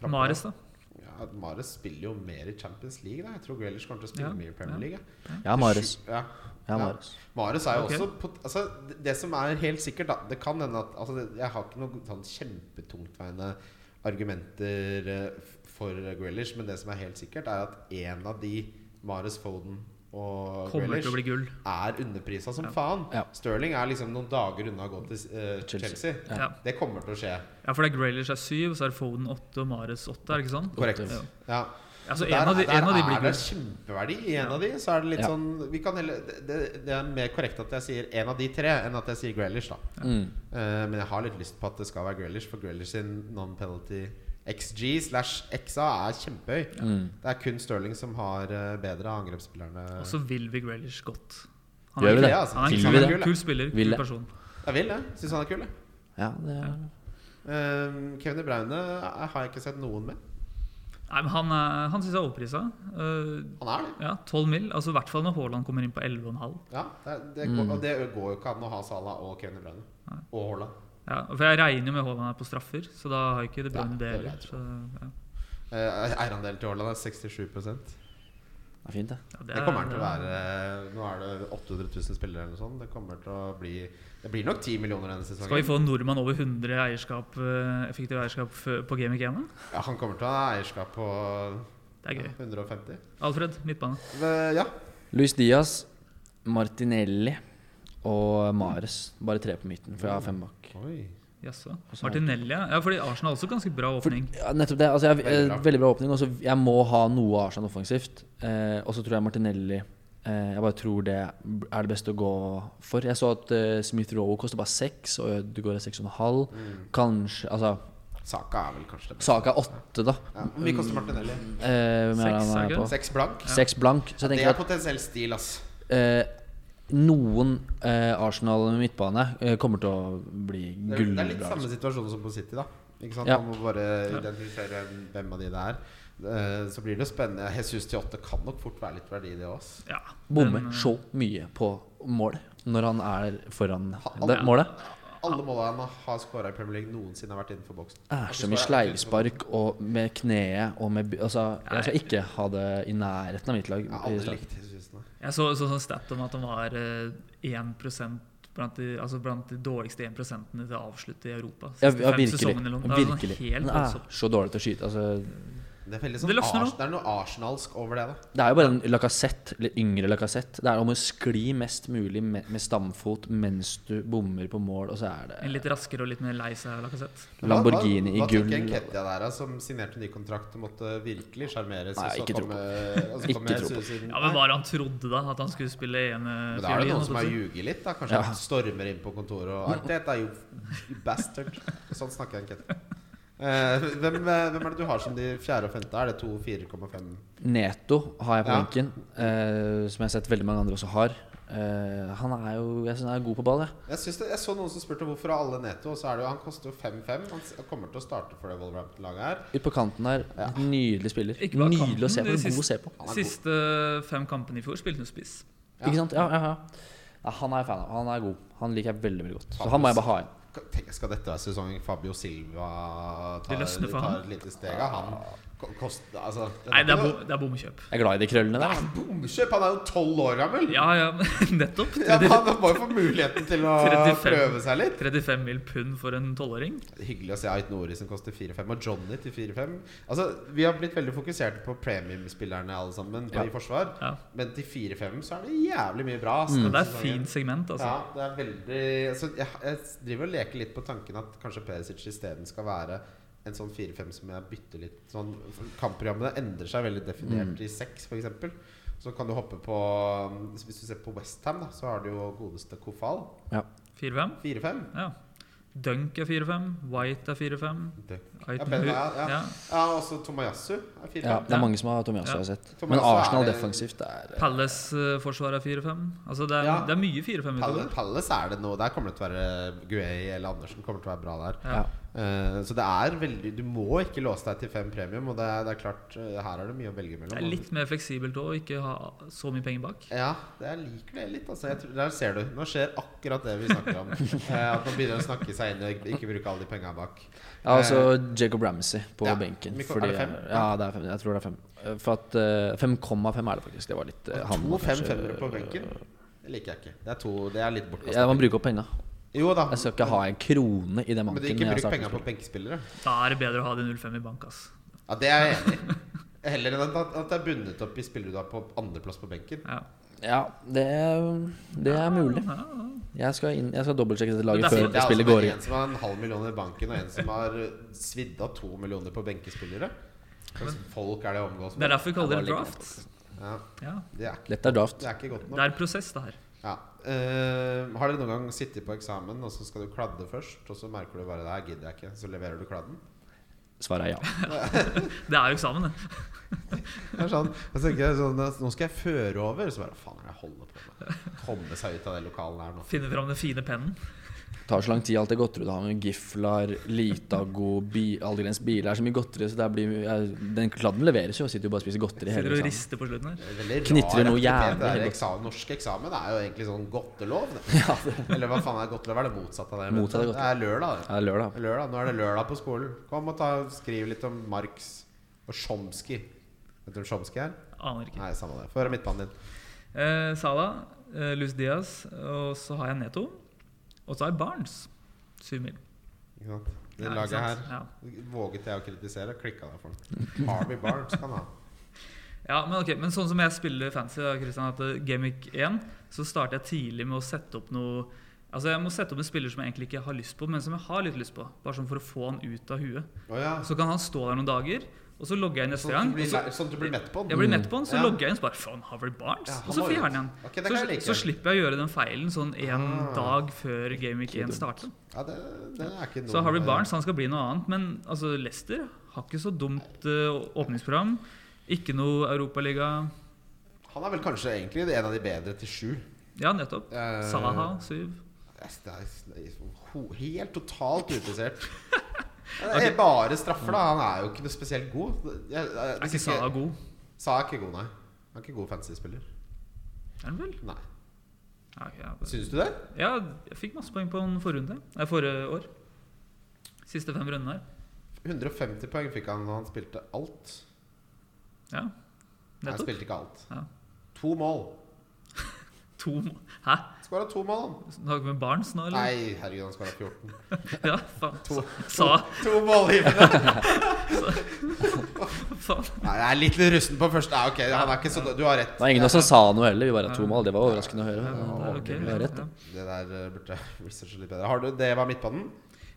S4: framover.
S1: Mares, da.
S4: Ja, Mares spiller jo mer i Champions League. Da. Jeg tror Grealish kommer til å spille
S1: Ja,
S4: mye i Premier
S1: ja.
S4: League. jeg.
S3: Ja, Mares.
S4: Ja.
S3: Ja,
S4: Ja.
S3: Mares.
S4: Mares er jo
S1: Ok.
S4: også pot- altså, det- Det som er helt sikkert, da Det kan hende at altså, det- Jeg har ikke noen sånn kjempetungtveiende argumenter eh, f- for Grealish, men det som er helt sikkert, er at en av de, Mares, Foden og
S1: Kommer
S4: Grealish,
S1: til å bli gull.
S4: er underprisa som
S1: Ja.
S4: faen.
S3: Ja.
S4: Sterling er liksom noen dager unna å gå til eh,
S3: Chelsea.
S4: Chelsea.
S1: Ja. Ja.
S4: Det kommer til å skje.
S1: for det er Grealish er syv, så er det Foden åtte og Mares åtte, er det ikke sånn?
S4: Korrekt.
S1: Ja.
S4: Ja.
S1: Altså,
S4: der
S1: en av de,
S4: der
S1: en av de blir
S4: er det
S1: gull.
S4: kjempeverdi i en av de. Så er det litt
S3: Ja.
S4: sånn vi kan heller, det, det- det er mer korrekt at jeg sier en av de tre enn at jeg sier Grealish. da
S3: Mm.
S4: Eh, Men jeg har litt lyst på at det skal være Grealish, for Grealish sin non-penalty XG slash XA er kjempehøy.
S3: Mm.
S4: Det er kun Stirling som har eh, bedre av angrepsspillerne. altså.
S1: Og så vil vi Grealish godt. Han
S3: Gjør
S1: er,
S3: vi
S1: kul.
S3: det?
S1: Han er,
S3: Vil
S1: en-
S3: vi
S1: han er
S3: det?
S1: en kul spiller,
S3: Vil
S1: kul
S3: det?
S1: person.
S4: Jeg vil det. Syns han er kul, jeg.
S3: Ja, det er
S4: Eh, Kevin De Bruyne eh, har jeg ikke sett noen med.
S1: Nei, men Han, er- han syns jeg er overprisa. Eh,
S4: Han er det.
S1: ja, 12 mil. Altså, I hvert fall når Haaland kommer inn på 11,5.
S4: Ja, det, det, går,
S1: Mm.
S4: og det går jo ikke an å ha Salah og Kevin De Bruyne. Og Haaland.
S1: Ja, for jeg regner jo med Haaland er på straffer, så da har ikke det
S4: Ja,
S1: Bruyne
S4: det
S1: det
S4: vil
S1: heller.
S4: jeg
S1: Så, ja.
S4: Eh, Eierandelen til Haaland er 67
S3: det er fint, det.
S1: Ja,
S4: Det kommer til å være eh, Nå er det 800 000 spillere eller noe sånt. Det kommer til å bli Det blir nok 10 millioner denne sesongen.
S1: Skal vi få en nordmann over 100 eierskap, eh, effektive eierskap f- på Gamic 1?
S4: Ja, han kommer til å ha eierskap på
S1: Det er gøy.
S4: 150.
S1: Alfred, midtbane.
S4: Men, ja.
S3: Luis Diaz, Martinelli og Mares. Bare tre på midten, for jeg har fem bak.
S4: Oi.
S1: Jaså.
S3: så-
S1: Martinelli, ja. ja. Fordi Arsenal har også ganske bra
S3: For,
S1: åpning.
S3: ja, nettopp det. Altså, jeg,
S4: Veldig
S3: veldig,
S4: bra.
S3: bra. veldig bra åpning. Også, jeg må ha noe Arsenal offensivt. Eh, og så tror jeg Martinelli eh, Jeg bare tror det er det beste å gå for. Jeg så at eh, Smith Rowe koster bare seks, og du går i seks og en halv. Kanskje Altså,
S4: Saka er vel kanskje det beste.
S3: saka er åtte, da.
S4: Ja, Hvor mye koster Martinelli?
S3: Eh, hvem er det
S1: Seks,
S3: han
S1: er
S3: er
S1: ikke
S3: på?
S4: Seks blank?
S3: Seks blank. Så jeg
S4: Det
S3: tenker
S4: er
S3: at
S4: potensiell stil, ass.
S3: eh, noen eh, Arsenal med midtbane eh, kommer til å bli
S4: Det er, det er litt
S3: gullbra.
S4: samme situasjon som på City, da. Ikke sant?
S3: Ja.
S4: Man må bare identifisere hvem av de det er. Eh, Så blir det jo spennende. Jesus til åtte kan nok fort være litt verdi, i det òg.
S1: Ja,
S3: Bommer
S1: den, eh,
S3: så mye på mål når han er foran
S4: Han-
S3: det, målet.
S4: Alle målene han har skåra i Premier League, noensinne har vært innenfor boksen.
S3: er så mye sleivspark og med kneet og med by- Altså, jeg skal ikke ha det i nærheten av mitt lag.
S4: Jeg har
S3: i
S4: aldri
S3: starten.
S4: likt Jesus. nei.
S1: Jeg så, så sånn stat om at han var eh, 1 blant de, altså blant de dårligste 1 til å avslutte i Europa.
S3: Ja,
S1: Siste
S3: ja,
S1: fem
S3: virkelig.
S1: sesongene eller noe. Det er sånn
S3: virkelig.
S1: helt
S3: Han er
S1: voldsomt.
S3: så dårlig til å skyte. Altså,
S4: Det er veldig sånn
S1: Det løsner nå.
S4: Ars- Det er noe arsenalsk over det, da.
S3: Det er jo bare en lakassett, eller yngre lakassett. Det er om å skli mest mulig med, med stamfot mens du bommer på mål, og så er
S1: En
S3: det
S1: litt raskere og litt mer lei seg Lacazette.
S3: Lamborghini
S4: hva, hva,
S3: i gull.
S4: Hva tenker Ketia der, da, som signerte ny kontrakt og måtte virkelig sjarmeres?
S3: Nei,
S4: og så
S3: ikke tro
S4: kom,
S3: på.
S4: eh, og så
S3: Ikke
S4: kom jeg
S3: tro på.
S4: sus inn-
S1: Ja, Men hva er det han trodde, da? At han skulle spille ene
S4: Men da er det
S1: fiolin,
S4: noen som har
S1: altså?
S4: ljuget litt, da. Kanskje
S3: Ja.
S4: han stormer inn på kontoret og Arteta, you, you bastard. Sånn snakker jeg ikke. Eh, hvem, eh, hvem er det du har som de fjerde og femte? Er det to 4,5?
S3: Neto har jeg på
S4: Ja.
S3: benken, eh, som jeg har sett veldig mange andre også har. Eh, han er jo jeg synes han er god på ball, jeg.
S4: Jeg, synes det, jeg så noen som spurte hvorfor har alle Neto, og så er det jo Han koster jo 5-5. Han s- kommer til å starte for det Wolverhampton-laget her.
S3: Ut på kanten der. Nydelig spiller.
S1: Ikke bare kanten,
S3: Nydelig å se på.
S1: det siste-
S3: God å se på.
S4: Han er god.
S1: Siste fem kampene i fjor spilte hun spiss.
S4: Ja.
S3: Ikke sant? Ja, ja, ja. ja han er jeg fan av. Han er god. Han liker jeg veldig veldig godt. Så han må jeg bare ha inn.
S4: K- Tenk, skal dette være sesongen Fabio Silva tar,
S1: Det løsner for
S4: tar
S1: han.
S4: et lite steg av han? Ko- Kost, altså,
S1: Nei, det er, bo det er bomkjøp.
S3: Jeg er glad i de krøllene
S4: Det
S3: der.
S4: er bomkjøp! Han er jo 12 år gammel!
S1: Ja, ja, [laughs] nettopp.
S4: [laughs] Ja, men han må jo få muligheten til
S1: [laughs]
S4: å
S1: 35.
S4: prøve seg litt.
S1: 35 mil pund for en tolvåring.
S4: Hyggelig å se Ait Nori som koster 4-5, og Johnny til 4-5. Altså, vi har blitt veldig fokusert på premiumspillerne alle sammen på,
S3: Ja.
S4: i forsvar.
S1: Ja.
S4: Men til 4-5 så er det jævlig mye bra. ass,
S1: Så
S4: denne
S1: det er et
S4: sesongen.
S1: fint segment, altså.
S4: Ja, det er veldig altså, jeg, jeg driver og leker litt på tanken at kanskje Perisic isteden skal være en sånn 4-5 som jeg bytter litt sånn, for Kampprogrammene endrer seg veldig definert
S1: Mm.
S4: i 6, f.eks. Så kan du hoppe på Hvis du ser på Westham, så har du jo godeste Kofal.
S1: 4-5.
S4: 4-5.
S1: Ja. Dunk er 4-5. White er 4-5.
S4: Ja,
S1: Aiten
S4: Ben, ja,
S1: Hu-
S4: ja.
S1: ja.
S4: ja, også Tomayasu er 4-5.
S3: Ja, det er mange som har Tomiasso, jeg har sett. Men
S4: Tomiasso er
S3: Arsenal
S4: det-
S3: defensivt det er eh,
S1: Palace-forsvaret er 4-5. Altså, det er,
S4: Ja.
S1: det er mye 4-5
S4: Palace,
S1: utover.
S4: Palace er det noe Der kommer det til å være Guey eller Andersen kommer til å være bra der.
S1: Ja.
S3: Ja.
S4: Eh, så det er veldig Du må ikke låse deg til fem premium, og det er, det er klart eh, her er det mye å velge mellom.
S1: Det er litt mer fleksibelt å ikke ha så mye penger bak.
S4: Ja, det jeg liker det litt. Altså. Jeg tror, der ser du. Nå skjer akkurat det vi snakker
S3: [laughs]
S4: om. Eh, at man begynner å snakke seg inn og ikke bruke alle de penga bak.
S3: Ja, altså Jacob Ramsey på
S4: Ja,
S3: benken.
S4: Mikko-
S3: fordi-
S4: er det fem?
S3: Ja, det er fem, jeg tror det er fem. Eh, For at eh, 5,5 er det faktisk. Det var litt eh, han
S4: To
S3: var
S4: fem
S3: kanskje-
S4: femmere på benken, det liker jeg ikke. Det er, to, det er litt
S3: Ja,
S4: bortkastet.
S3: man bruker opp penga.
S4: Jo da,
S3: Jeg skal ikke ha en krone i den
S4: men
S3: banken.
S4: du ikke
S3: når jeg
S4: bruk
S3: starter
S4: penga
S3: å
S4: på benkespillere.
S1: Da er det bedre å ha de 0-5 i bank, ass.
S4: Ja, det er jeg enig i. Heller enn at, at det er bundet opp i spillere du har på andreplass på benken.
S1: Ja.
S3: spille. Ja, det, det er mulig. Jeg skal, inn, jeg skal dobbeltsjekke dette
S1: Men
S3: laget
S1: det er
S3: før
S1: fint,
S4: Det er
S3: spillet
S4: altså
S3: går i
S4: en som har en halv million i banken, og en som har eh, svidd av to millioner på benkespillere. Hva slags folk er det å omgås
S1: Det er
S4: med?
S1: derfor vi kaller det
S3: Ja, bare
S1: draft.
S4: Ja,
S1: Ja.
S4: det, er ikke,
S3: Dette er draft.
S4: det er ikke godt
S1: Det
S4: nok.
S1: er prosess, det her.
S4: Ja. Eh, har dere noen gang sittet på eksamen, og så skal du kladde først, og så merker du bare det her gidder jeg ikke, så leverer du kladden?
S3: Svaret er ja.
S1: Det er jo eksamen, det.
S4: Det er sånn, og så tenker jeg sånn at Nå skal jeg føre over, så bare faen er det jeg holder på med? Komme seg ut av det lokalet her nå.
S1: Finne fram den fine pennen.
S3: Det tar så lang tid, alt det godteriet du har med Giflar, Litago, bi, Algrens biler Det er så mye godteri, så det blir, jeg- den kladden leveres jo. og Sitter jo bare og spiser godteri
S1: Sitter
S3: hele
S1: og
S3: tiden.
S1: rister på slutten her.
S4: Eh, Veldig rar
S3: Knitrer noe
S4: aktivitet,
S3: jævlig
S4: det der
S3: hele
S4: eksamen, Norsk eksamen er jo egentlig sånn godtelov. det. Eller hva faen er godtelov? Er det motsatt av det?
S3: Motsatt av godtelov.
S4: det er lørdag.
S3: Ja, det er lørdag.
S4: Det. lørdag. Nå er det lørdag på skolen. Kom og ta, skriv litt om Marx og Chomsky. Vet du hvem Chomsky er?
S1: Aner ikke.
S4: Nei, samme det. Få høre midtbanen din.
S1: Eh, Sala, eh, Luz Diaz, og så har jeg Neto. Og så har jeg Barnes. Syv mil.
S4: Ikke sant? Det
S1: Ja, ikke
S4: laget
S1: sant?
S4: her våget jeg å kritisere. Klikka der for den. Harvey Barnes kan ha.
S1: Ja, men, ok, men sånn som jeg spiller fancy, da, Christian, at eh, Gamic 1, så starter jeg tidlig med å sette opp noe Altså, jeg må sette opp en spiller som jeg egentlig ikke har lyst på, men som jeg har litt lyst på. Bare sånn for å få han ut av huet.
S4: Å ja.
S1: Så kan han stå der noen dager, og så logger jeg inn neste
S4: Sånn at
S1: gang.
S4: du blir,
S1: og så-
S4: lei- sånn at du blir mett på
S1: Jeg
S4: den.
S1: blir nett på den, så
S4: Ja.
S1: logger jeg inn så bare Faen, Harvard Barnes?
S4: Ja,
S1: og så
S4: han var
S1: fjerner
S4: jo-
S1: jeg den.
S4: Ok, det kan
S1: så,
S4: jeg like.
S1: så slipper jeg å gjøre den feilen sånn en
S4: Ah.
S1: dag før Game Week 1 starter.
S4: Ja, det, det er ikke noe
S1: Så Harvard Barnes han skal bli noe annet. Men altså, Leicester har ikke så dumt eh, åpningsprogram. Ikke noe Europaliga.
S4: Han er vel kanskje egentlig en av de bedre til sju.
S1: Ja, nettopp.
S4: Eh,
S1: Saha, syv.
S4: Yes, det er, det er liksom ho- helt
S1: [laughs]
S4: totalt utplassert. Det er bare straffer, da. Han er jo ikke noe spesielt god. Jeg, jeg,
S1: Er ikke Saha god?
S4: Sa er ikke god, nei. Han er ikke god fantasy-spiller.
S1: Er han vel?
S4: Nei.
S1: Ja, ok, ja,
S4: Syns du det?
S1: ja, jeg fikk masse poeng på den forrunde. Nei, forrige år. Siste fem rundene her.
S4: 150 poeng fikk han da han spilte alt.
S1: Ja,
S4: Nei, han
S1: nettopp.
S4: spilte ikke alt.
S1: Ja.
S4: To mål.
S1: To må- Hæ?
S4: Skåra to mål, han.
S1: Snakker vi med Barnes nå, eller?
S4: Nei, herregud, han skåra 14.
S1: [laughs] Ja, faen.
S4: To.
S1: Sa
S4: [laughs] To målgivende!
S1: faen.
S4: Nei, jeg er litt rusten på første. Nei, ok, han er ikke så dårlig. Du har rett.
S3: Det var ingen av oss som sa noe heller. Vi bare hadde to mål. Det var overraskende å høre.
S1: Ja, det er ok.
S3: Du har rett, da.
S4: Det der eh, burde jeg [laughs] researche litt bedre. Har du, det var midtbanen?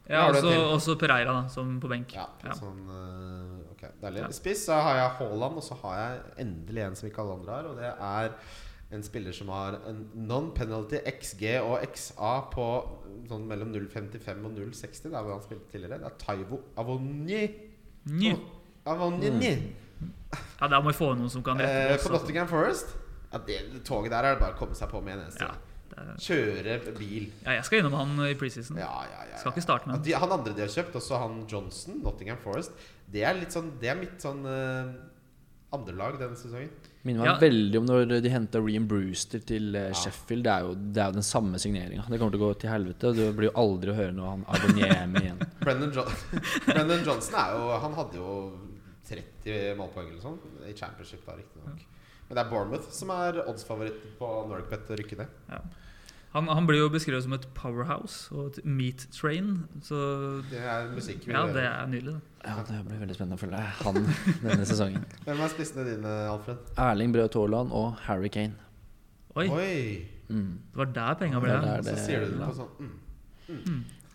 S1: Ja,
S4: Har du
S1: også,
S4: en til?
S1: også Pereira, da, som på benk.
S4: Ja.
S1: Ja.
S4: Sånn, eh, ok, Deilig.
S1: Ja.
S4: Spiss så har jeg Haaland, og så har jeg endelig en som ikke alle andre har. Og det er en spiller som har en non-penalty XG og XA på sånn mellom 0,55 og 0,60. Der hvor han spilte tidligere. Det er Taivo Avonji.
S1: Nja.
S4: Avonji.
S1: Mm. Ja, der må vi få noen som kan rette
S4: Eh,
S1: oss.
S4: på
S1: altså.
S4: Nottingham Forest. Ja, det toget der er det bare å komme seg på med en
S1: Ja,
S4: eneste gang.
S1: det er-
S4: Kjøre bil.
S1: ja, jeg skal innom han eh, i preseason.
S4: Ja, ja, ja, ja.
S1: Skal ikke starte med
S4: Ja, de, Han andre de har kjøpt, også han Johnson, Nottingham Forest, det er litt sånn Det er mitt sånn eh, andrelag denne sesongen.
S3: Minner meg
S1: Ja.
S3: veldig om når de henta Ream Brewster til eh, Sheffield. Det er jo, det er jo den samme signeringa. Det kommer til å gå til helvete. og Du blir jo aldri å høre noe om Abonyemi igjen.
S4: Brennan, jo [laughs] Brennan Johnson er jo Han hadde jo 30 målpoeng eller sånn i championship, da, riktignok. Men det er Bournemouth som er oddsfavoritt på Norwegian å rykke ned.
S1: Han, han blir jo beskrevet som et powerhouse og et meat train, så
S4: Det er musikk. vi
S1: ja,
S4: hører.
S1: det er nydelig. da.
S3: Ja, det blir veldig spennende å følge han denne sesongen.
S4: Hvem er spissene dine, Alfred?
S3: Erling Braut Haaland og Harry Kane.
S1: Oi,
S4: Oi!
S3: Mm.
S1: det var der penga ble
S3: Det
S1: av.
S3: er
S4: Så
S3: det-
S4: sier du det på sånn mm.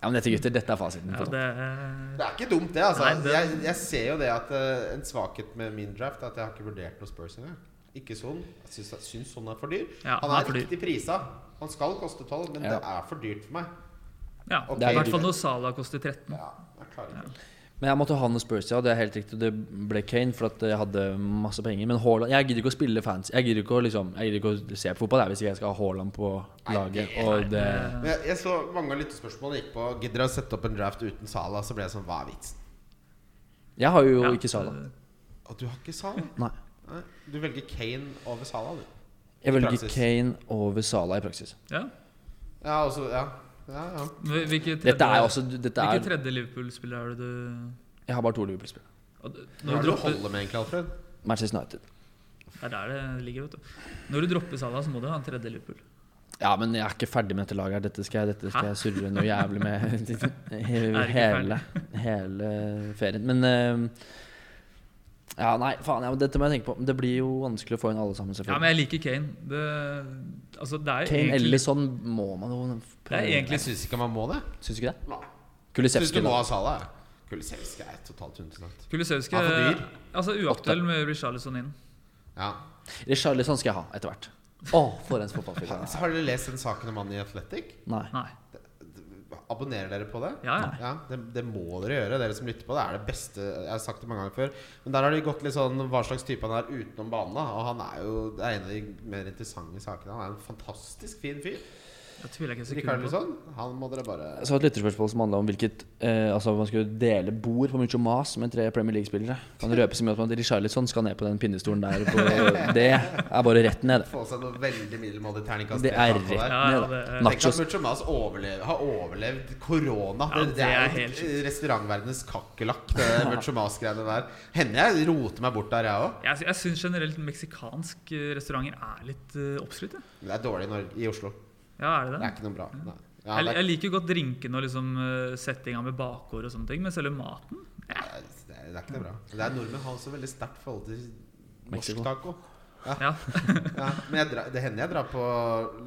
S3: Ja, men dette, gutter, dette er fasiten.
S1: Ja,
S3: på
S1: det eh,
S4: Det er ikke dumt, det. altså
S1: Nei, det-
S4: Jeg, jeg ser jo det at eh, en svakhet med min draft er at jeg har ikke vurdert noe Spurs engang. Ikke sånn. Jeg syns, jeg syns sånn er for dyr.
S1: Ja,
S4: han
S1: han
S4: er,
S1: er for dyr.
S4: riktig prisa. Han skal koste 12, men
S3: Ja.
S4: det er for dyrt for meg.
S1: ja,
S4: Ok.
S1: det er i hvert fall når Salah koster 13.
S4: Ja, jeg klarer ikke
S3: Men jeg måtte ha noe Spurs, ja. Det er helt riktig. Det ble Kane, for at jeg hadde masse penger. Men Haaland Jeg gidder ikke å spille fans. Jeg gidder ikke å, liksom, jeg gidder ikke å se på fotball jeg, hvis ikke jeg skal ha Haaland på laget. Og det
S4: Men jeg, jeg så mange av lyttespørsmålene gikk på Gidder dere å sette opp en draft uten Sala, så ble jeg sånn Hva er vitsen?
S3: Jeg har jo
S1: Ja,
S3: ikke Sala.
S1: eh,
S4: Og du har ikke Sala?
S3: Nei.
S4: Nei. Du velger Kane over Sala, du.
S3: Jeg velger
S4: praksis.
S3: Kane over Sala i praksis.
S1: Ja.
S4: Ja, også, ja. ja, ja.
S1: Hvil- Hvilke tredje,
S3: Dette er også Dette
S1: hvilke
S3: er
S1: tredje Liverpool-spiller er det du
S3: Jeg har bare to Liverpool-spillere.
S1: og d-
S4: Hva
S1: Når du
S4: er det du
S1: dropper,
S4: holder med, egentlig, Alfred?
S3: Manchester United.
S1: det er der det ligger, vet du. Når du dropper Salah, så må du ha en tredje Liverpool.
S3: Ja, men jeg er ikke ferdig med dette laget her. Dette skal jeg, dette skal jeg surre noe jævlig
S1: [laughs]
S3: med [laughs]
S1: Er ikke
S3: hele, hele ferien. Men eh, Ja, nei, faen. Ja, men dette må jeg tenke på. Det blir jo vanskelig å få inn alle sammen,
S1: Ja,
S3: selvfølgelig.
S1: men jeg liker Kane. Det, altså, det er
S3: Kane
S1: egentlig,
S3: Ellison må man jo
S1: det er egentlig
S4: Jeg syns ikke man må det.
S3: Syns du ikke det?
S4: Nei. Syns du
S3: Kulisevskij,
S4: må
S3: da.
S4: ha Sala? ja. Kulisevskij er totalt hundesnatt.
S1: Kulisevskij
S4: Han er for dyr.
S1: Altså uaktuell med Richarlison inn.
S4: Ja.
S3: Richarlison skal jeg ha etter
S1: [laughs]
S3: hvert. Å, for en fotballspiller.
S4: Så har dere lest den saken om han i Athletic?
S3: Nei.
S1: Nei.
S4: Abonnerer dere på det?
S1: Ja, ja.
S4: det, det må dere gjøre, dere som lytter på. Det er det beste Jeg har sagt det mange ganger før. Men der har de gått litt sånn hva slags type han er utenom banen. da. Og han er jo det er en av de mer interessante sakene. Han er en fantastisk fin fyr.
S1: Jeg tviler ikke et sekund
S4: Rikard
S1: på.
S4: Lisson. Han må dere bare
S3: Så et lytterspørsmål som handla om hvilket eh, Altså man skulle dele bord på Mucho Mas med tre Premier League-spillere. Kan røpe så mye om at Richarlison skal ned på den pinnestolen der.
S1: [laughs]
S3: På, det er bare rett ned.
S4: få seg noe veldig middelmådig terningkast.
S3: Det er
S4: tre på
S3: rett
S4: der.
S1: Ja,
S3: ned, da.
S1: det er-
S4: Tenk at
S3: Nachos.
S4: Mucho Mas overlev, har overlevd korona.
S1: Ja,
S4: det,
S1: det
S4: er,
S1: er
S4: jo
S1: helt sjukt.
S4: restaurantverdenens kakerlakk,
S1: [laughs]
S4: det Mucho Mas-greiene der. Hender jeg roter meg bort der, jeg òg.
S1: Jeg, jeg syns generelt meksikansk eh, restauranter er litt eh, oppskrytt. jeg.
S4: Men det er dårlig i, Norge, i Oslo.
S1: Ja, er det
S4: Det
S1: det?
S4: er ikke noe bra. Nei. Ja,
S1: Jeg,
S4: det,
S1: jeg
S4: er,
S1: liker jo godt drinkene og liksom eh, settinga med bakgård og sånne ting, men selve maten
S4: det, er, det er ikke noe bra. Det er Nordmenn har også veldig sterkt forhold til norsk
S3: Mexico.
S4: taco.
S1: Ja.
S4: Ja, men jeg drar, det hender jeg drar på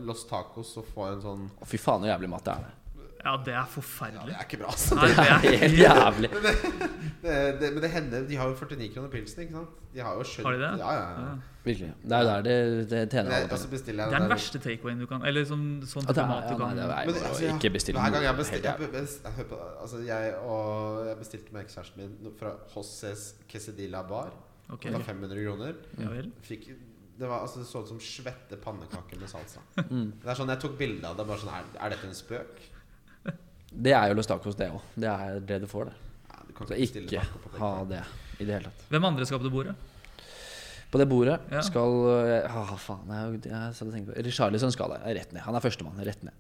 S4: Los Tacos og får en sånn
S3: Å, fy faen, så jævlig mat [laughs] det
S1: ja,
S3: er.
S1: det er
S4: Ja, det
S1: forferdelig.
S4: er ikke bra, altså.
S1: Nei,
S3: [laughs]
S1: det er
S3: Helt jævlig.
S4: Det, det, men det hender De har jo 49 kroner pilsen, ikke sant? De har jo skjønt
S1: Har de det?
S4: Ja, ja, ja.
S1: Ja.
S3: Virkelig. Det er jo der det, det tjener
S4: Men jeg,
S3: alle
S4: og
S3: penger.
S4: så bestiller jeg
S1: Det er den
S4: der-
S1: verste takeawayen du kan Eller sånn, sånn
S3: At det er-
S1: mat du
S3: ja, nei,
S1: kan
S3: det er-
S4: Men
S3: må
S4: altså, ja,
S3: ikke bestille
S4: Hver gang jeg
S3: noe
S4: bestilte
S3: helt
S4: jeg, best- jeg, hør på- altså, jeg, og jeg bestilte med ekskjæresten min noe fra Hosses Quesadilla Bar.
S1: Ok.
S4: Det var 500 kroner.
S1: Ja vel.
S4: Fikk, det, var, altså, det så ut som svette pannekaker med salsa.
S3: [laughs] Mm.
S4: Det er sånn, Jeg tok bilde av det. bare sånn, er, er dette en spøk?
S3: Det er jo Los Tacos, det òg. Det er det du får, det.
S4: Ja, du kan
S3: Så
S4: ikke bestille
S3: ikke
S4: taco på
S3: ha
S4: benken.
S3: det i det hele tatt.
S1: Hvem andre skal på det bordet?
S3: På det bordet
S1: Ja.
S3: skal ah, faen, jeg, jeg satt og tenkte på Richarlison skal der. Rett ned. Han er førstemann. Rett ned.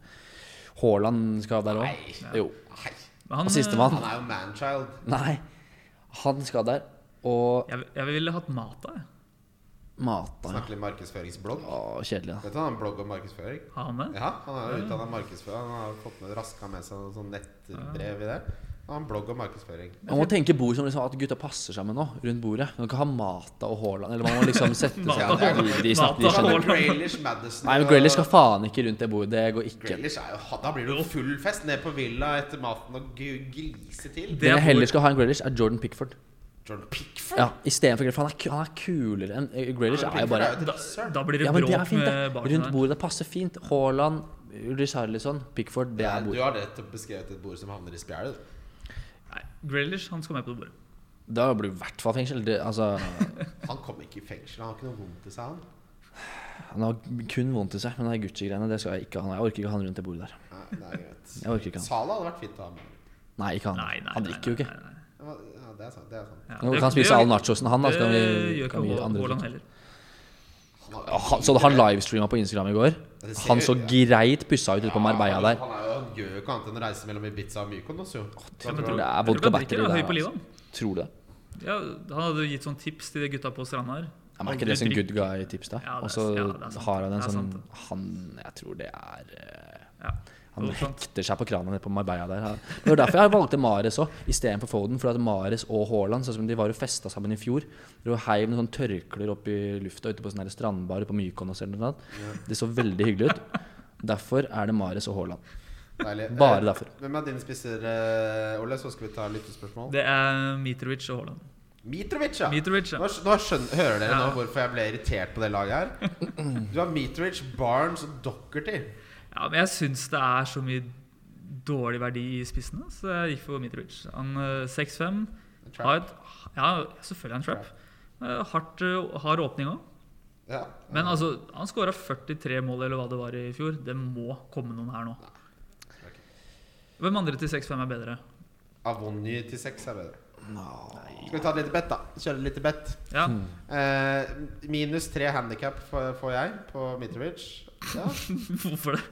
S3: Haaland skal der òg. Jo.
S4: Nei,
S1: Men Han,
S3: Og
S4: han
S3: sistemann.
S4: er jo manchild.
S3: Nei. Han skal der. Og
S1: eh, Jeg, jeg ville hatt Mata, jeg.
S3: Mata, ja.
S4: Snakke litt markedsføringsblogg.
S3: Å, kjedelig, da.
S4: Vet du han har en blogg om markedsføring?
S1: Har han det?
S4: Ja, han er jo utdannet markedsfører. Han har fått med raska med seg noe sånn nettbrev i det. Han har en blogg om markedsføring.
S3: Man må tenke bord som liksom, at gutta passer sammen nå, rundt bordet. Man kan ikke ha Mata og Haaland. Eller man må liksom sette
S1: [laughs]
S3: seg
S1: Mata-
S3: ned i
S1: Mata-
S3: de snakkene de
S4: Da
S3: skjønner.
S4: hadde Grealish, Sånn Madison
S3: Nei, men Grealish skal faen ikke rundt det bordet. Det går ikke.
S4: Grealish er jo Da blir det jo full fest ned på villa etter maten og gu- grise til.
S1: Det
S3: Det
S1: er
S3: jeg heller
S1: hvor-
S3: skal ha enn Grealish, er Jordan Pickford.
S4: Jordan Pickford?
S3: Ja, Istedenfor Grealish. For han er, ku- han er kulere enn eh, Grealish. Er jo bare
S4: Pickford er jo
S1: Da,
S4: et rasshøl.
S1: da blir det
S3: Ja, men
S1: bråk
S3: det er fint,
S1: med
S3: det.
S1: barna
S3: Rundt
S1: der.
S3: bordet. Det passer fint. Haaland, Richarlison, Pickford. Det er
S4: Eh, Du
S3: bord.
S4: har rett til å beskrevet et bord som havner i spjælet. du.
S1: Nei, Grealish han skal med på det bordet.
S3: Da blir det i hvert fall fengsel. Det, altså,
S4: Han kom ikke i fengsel. Han har ikke noe vondt i seg, han.
S3: han har kun vondt i seg. Men det er Gucci-greiene. Det skal jeg ikke ha. nå. Jeg orker ikke ha han rundt det bordet der.
S4: Nei, det er greit.
S3: Jeg orker ikke han.
S4: Sala hadde vært fint å ha med.
S3: Nei, ikke
S1: Nei,
S3: han.
S1: nei,
S3: Han
S1: nei,
S3: drikker jo
S1: nei,
S3: ikke.
S1: nei, nei.
S4: Ja, det er sant. det er sant
S1: Ja,
S3: Nå
S1: det-
S3: kan han spise
S1: det-
S3: all nachosen han, da. Så kan vi,
S1: Det gjør
S3: kan vi gi
S1: ikke
S3: andre
S1: Haaland
S3: drikke.
S1: heller.
S4: Han har-
S3: Ja, han- Så han livestreama på Instagram i går.
S4: det ser
S3: Han
S4: jo-
S3: så
S4: ja.
S3: greit pussa ut ute på Marbella
S4: han-
S3: der.
S4: Han, er jo, han gjør jo ikke annet enn å reise mellom Ibiza og Mykonos, jo.
S1: Ja, men
S3: tror
S1: tror-
S3: det er
S1: jeg tror
S3: vodka
S1: han drikker,
S3: battery
S1: da,
S3: der.
S1: høy på livet,
S3: altså. Tror du det?
S1: Ja, han hadde jo gitt sånn tips til de gutta på stranda her.
S3: Ja, men er ikke
S1: Aldri
S3: det sånn
S1: drikk.
S3: good guy-tips, da?
S1: Ja, det er-
S3: Og så
S1: ja, det er sant.
S3: har han en
S1: Det er
S3: sånn
S1: sant, det.
S3: Han Jeg tror det er eh,
S1: Ja. Sånn.
S3: Han
S1: det var sant.
S3: hekter seg på kranen nede på Marbella der. Han- Det var derfor jeg valgte Mares òg, istedenfor Foden. For at Mares og Haaland, sånn som de var og festa sammen i fjor De heiv noen sånne tørklær opp i lufta ute på sånn her strandbar ute på Mykonos eller noe sånt. Det så veldig hyggelig ut. Derfor er det Mares og Haaland.
S4: Deilig.
S3: Bare
S4: Eh,
S3: derfor.
S4: Hvem er dine spisser, eh, Ole? Så skal vi ta lyttespørsmål.
S1: Det er Mitrovic og Haaland.
S4: Mitrovic, ja.
S1: Mitrovic, ja.
S4: Nå, skj- nå skjønner, hører dere
S1: Ja.
S4: nå hvorfor jeg ble irritert på det
S3: [laughs]
S4: laget her. Du har Mitrovic, Barnes og Dockerty.
S1: Ja, men jeg syns det er så mye dårlig verdi i spissene, så jeg gikk for Mitrovic. Han eh, 6'5.
S4: Trap.
S1: Har et, ja, selvfølgelig er han trap. Eh, Hardt, eh, hard åpning òg.
S4: Ja.
S1: Men altså, han skåra 43 mål eller hva det var i fjor. Det må komme noen her nå. Hvem andre til 6'5 er bedre?
S4: Avonny til seks er bedre. Skal vi ta et lite bett, da? Kjøre litt bett.
S1: Ja,
S4: Eh, minus tre handikap får jeg på Mitrovic. Ja,
S1: [laughs] Hvorfor det?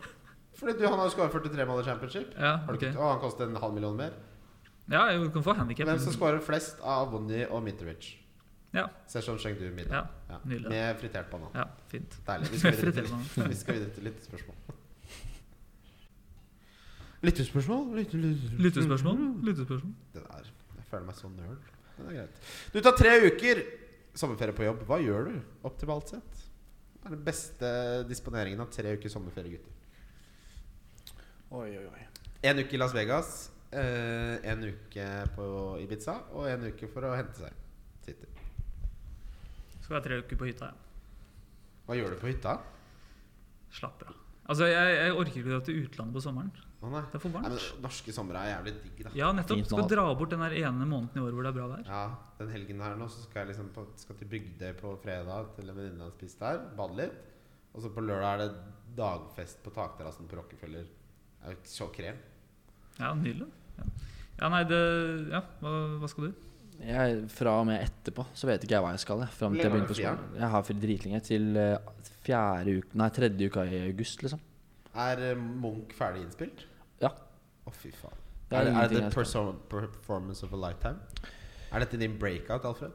S4: fordi du, han har jo skåret 43 mål i championship.
S1: Ja,
S4: Har du
S1: ok
S4: ikke- Og han koster en halv million mer.
S1: Ja, jo, du kan få handikap.
S4: Hvem som skårer flest av Avonny og Mitrovic?
S1: Ja,
S4: Sesjon Chengdu
S1: ja,
S4: middag. Ja.
S1: nydelig.
S4: Med fritert banan.
S1: ja, fint.
S4: Deilig. Vi skal videre
S1: Fritert
S4: til, [laughs] vi skal videre til lyttespørsmål. Lyttespørsmål? Lytte, lytte.
S1: Lyttespørsmål? Lyttespørsmål?
S4: Det der. Jeg føler meg så nerd. Men det er greit. Du tar tre uker sommerferie på jobb. Hva gjør du, optimalt sett? Hva er den beste disponeringen av tre uker sommerferie, gutter?
S3: Oi, oi, oi.
S4: En uke i Las Vegas, eh, en uke på Ibiza og en uke for å hente seg. Sitter.
S1: Skal være tre uker på hytta, ja.
S4: Hva gjør du på hytta?
S1: Slapp av. Altså, jeg, jeg orker ikke å dra til utlandet på sommeren.
S4: Å nei.
S1: Det er for
S4: Nei, men
S1: varmt.
S4: norske somre er jævlig digg, da.
S1: Ja, nettopp.
S3: Fint nå,
S1: Skal
S3: da.
S1: dra bort den der ene måneden i året hvor det er bra vær.
S4: Ja, den helgen her nå så skal jeg liksom på, skal til Bygdøy på fredag til en venninne og spise der. Bade litt. Og så på lørdag er det dagfest på takterrassen på Rockefeller. Det er jo så krem.
S1: Ja, nydelig. Ja, ja nei, det Ja, hva, hva skal du?
S3: Jeg, fra og med etterpå så vet ikke jeg hva jeg skal. Jeg, frem til jeg
S4: Hvor lenge
S3: begynner på
S4: har du fri,
S3: skolen. Jeg har fri dritlenge til eh, fjerde uke, nei, tredje uka i august, liksom.
S4: Er eh, Munch ferdig innspilt?
S3: Ja.
S4: Å, fy faen.
S3: Det er
S4: Er, det- er
S3: ingenting
S4: det
S3: jeg
S4: the perso- performance of a lifetime? Er dette din breakout, Alfred?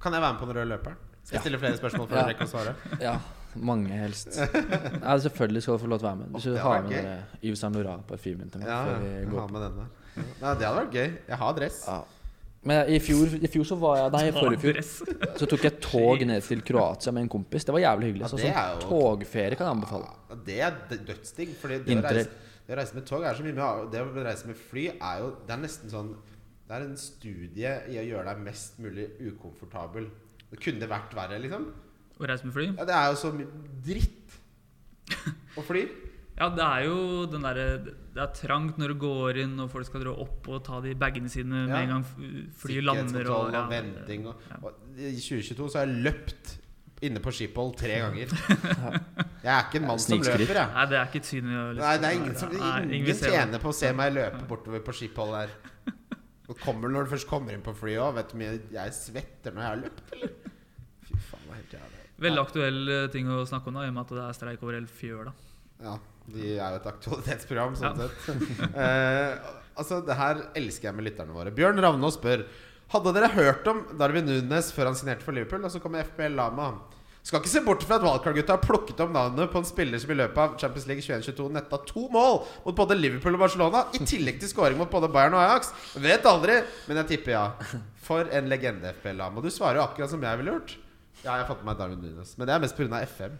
S4: Kan jeg være med på den røde løperen? Skal jeg
S3: Ja.
S4: stille flere spørsmål for
S3: Ja.
S4: å rekke å svare?
S3: Ja, mange helst. Ja, selvfølgelig skal du få lov til å være med. Du
S4: Åh,
S3: skal
S4: det
S3: ha
S4: var
S3: med
S4: gøy.
S3: dere Yves Saint Laurent-parfymen til meg.
S4: Ja,
S3: før vi
S4: jeg
S3: går
S4: har
S3: på.
S4: med den der. Ja. Nei, det hadde vært gøy. Jeg har dress.
S3: Ja. Men i fjor, i fjor så var jeg Nei, i forrige fjor
S1: Dress. [laughs]
S3: så tok jeg tog ned til Kroatia med en kompis. Det var jævlig hyggelig.
S4: Ja,
S3: Så
S4: det
S3: sånn
S4: er jo-
S3: togferie kan jeg anbefale.
S4: Ja, Det er d- dødsdigg. Fordi det å,
S3: Interrail.
S4: reise, det å reise med tog er så mye med av- Det å reise med fly er jo Det er nesten sånn Det er en studie i å gjøre deg mest mulig ukomfortabel. Det kunne vært verre, liksom.
S1: Å reise med fly?
S4: Ja, det er jo så mye dritt å
S1: [laughs]
S4: fly.
S1: Ja, det er jo den derre Det er trangt når du går inn, og folk skal dra opp og ta de bagene sine med
S4: Ja.
S1: en gang f- flyet lander.
S4: Sikkerhetskontroll
S1: Og, ja,
S4: venting og,
S1: ja.
S4: og I 2022 så har jeg løpt inne på Schiphol tre
S1: [laughs]
S4: ganger. Jeg er ikke en mann som
S3: Snikskritt.
S4: løper, jeg.
S1: Nei, det er ikke et syn vi har lyst
S4: Nei,
S1: til
S4: det
S1: å
S4: er ingen
S1: være.
S4: som
S1: liksom. Nei,
S4: ingen
S1: vil se det.
S4: tjener på å se meg løpe bortover på Schiphol der. Og kommer når du først kommer inn på flyet òg. Vet du hvor mye jeg svetter når jeg har løpt, eller? Fy faen, det er helt jævlig.
S1: Veldig aktuell eh, ting å snakke om da, i og med at det er streik over hele fjøla.
S4: Ja, de er jo et aktualitetsprogram, sånn
S1: Ja.
S4: sett. [laughs] Eh, altså, det her elsker jeg med lytterne våre. Bjørn Ravnås spør Hadde dere hørt om Darwin Nunes før han signerte for Liverpool, og så kommer FPL Lama. Skal ikke se bort fra at Wildcard-gutta har plukket opp navnet på en spiller som i løpet av Champions League 21-22 netta to mål mot både Liverpool og Barcelona, i tillegg til skåring mot både Bayern og Ajax. Vet aldri, men jeg tipper ja. For en legende, FPLA. Og du svarer jo akkurat som jeg ville gjort. Ja, jeg har fått med meg Darwin Nunes, men det er mest pga. FM.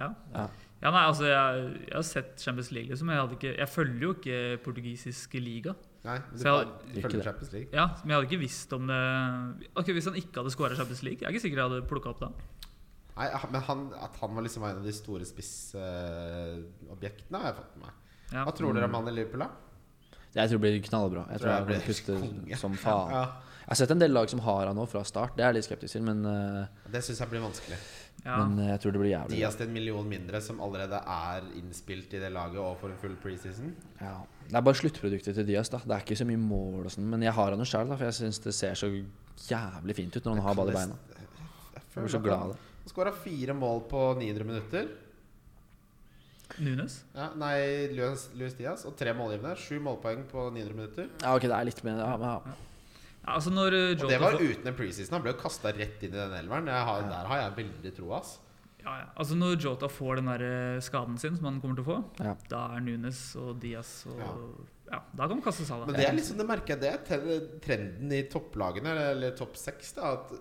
S1: Ja.
S3: Ja.
S1: Ja, nei, altså, jeg, jeg har sett Champions League, liksom. men Jeg, hadde ikke, jeg følger jo ikke portugisisk liga.
S4: Nei, men
S1: Så jeg-
S4: du
S3: Ikke
S4: følger
S3: det.
S4: Champions League.
S1: Ja, Men jeg hadde ikke visst om det Ok, Hvis han ikke hadde skåra Champions League, jeg er ikke sikker jeg hadde plukka opp det.
S4: Nei, ah, men han, At han var liksom en av de store spissobjektene, har jeg fått med meg.
S1: Ja.
S4: Hva tror dere om han i Liverpool, da?
S3: Jeg tror det blir knallbra. Jeg tror
S4: Tror jeg
S3: jeg blir
S4: blir konge.
S3: kutte som faen.
S4: Ja.
S3: Jeg har sett en del lag som har han nå fra start, det er jeg litt skeptisk til, men, eh,
S4: Det syns jeg blir vanskelig.
S1: Ja.
S3: men eh, jeg tror det blir jævlig.
S4: Diaz til en million mindre, som allerede er innspilt i det laget og får en full preseason.
S3: Ja. Det er bare sluttproduktet til Diaz, da. Det er ikke så mye mål og sånn, men jeg har han jo sjæl, da, for jeg syns det ser så jævlig fint ut når han har ball i beina.
S4: Jeg
S3: Jeg blir så glad av det.
S4: Han skåra fire mål på 900 minutter.
S1: Nunes?
S4: Ja, nei, Luis, Luis Diaz. Og tre målgivende. Sju målpoeng på 900 minutter.
S3: Ja, ok, det er litt mer ja, men, ja.
S1: Ja, altså når eh,
S4: Og
S1: Jota
S4: det var
S1: får-
S4: uten en preseason. Han ble jo kasta rett inn i den elveren. Jeg har, der har jeg veldig troa. ass.
S1: ja, ja. altså når Jota får den der eh, skaden sin, som han kommer til å få,
S3: Ja.
S1: da er Nunes og Diaz og Ja,
S4: Ja.
S1: da kan man kaste seg av
S4: Men
S1: det.
S4: det er liksom, det merker jeg, det er tre- trenden i topplagene, eller- eller topp seks, da, at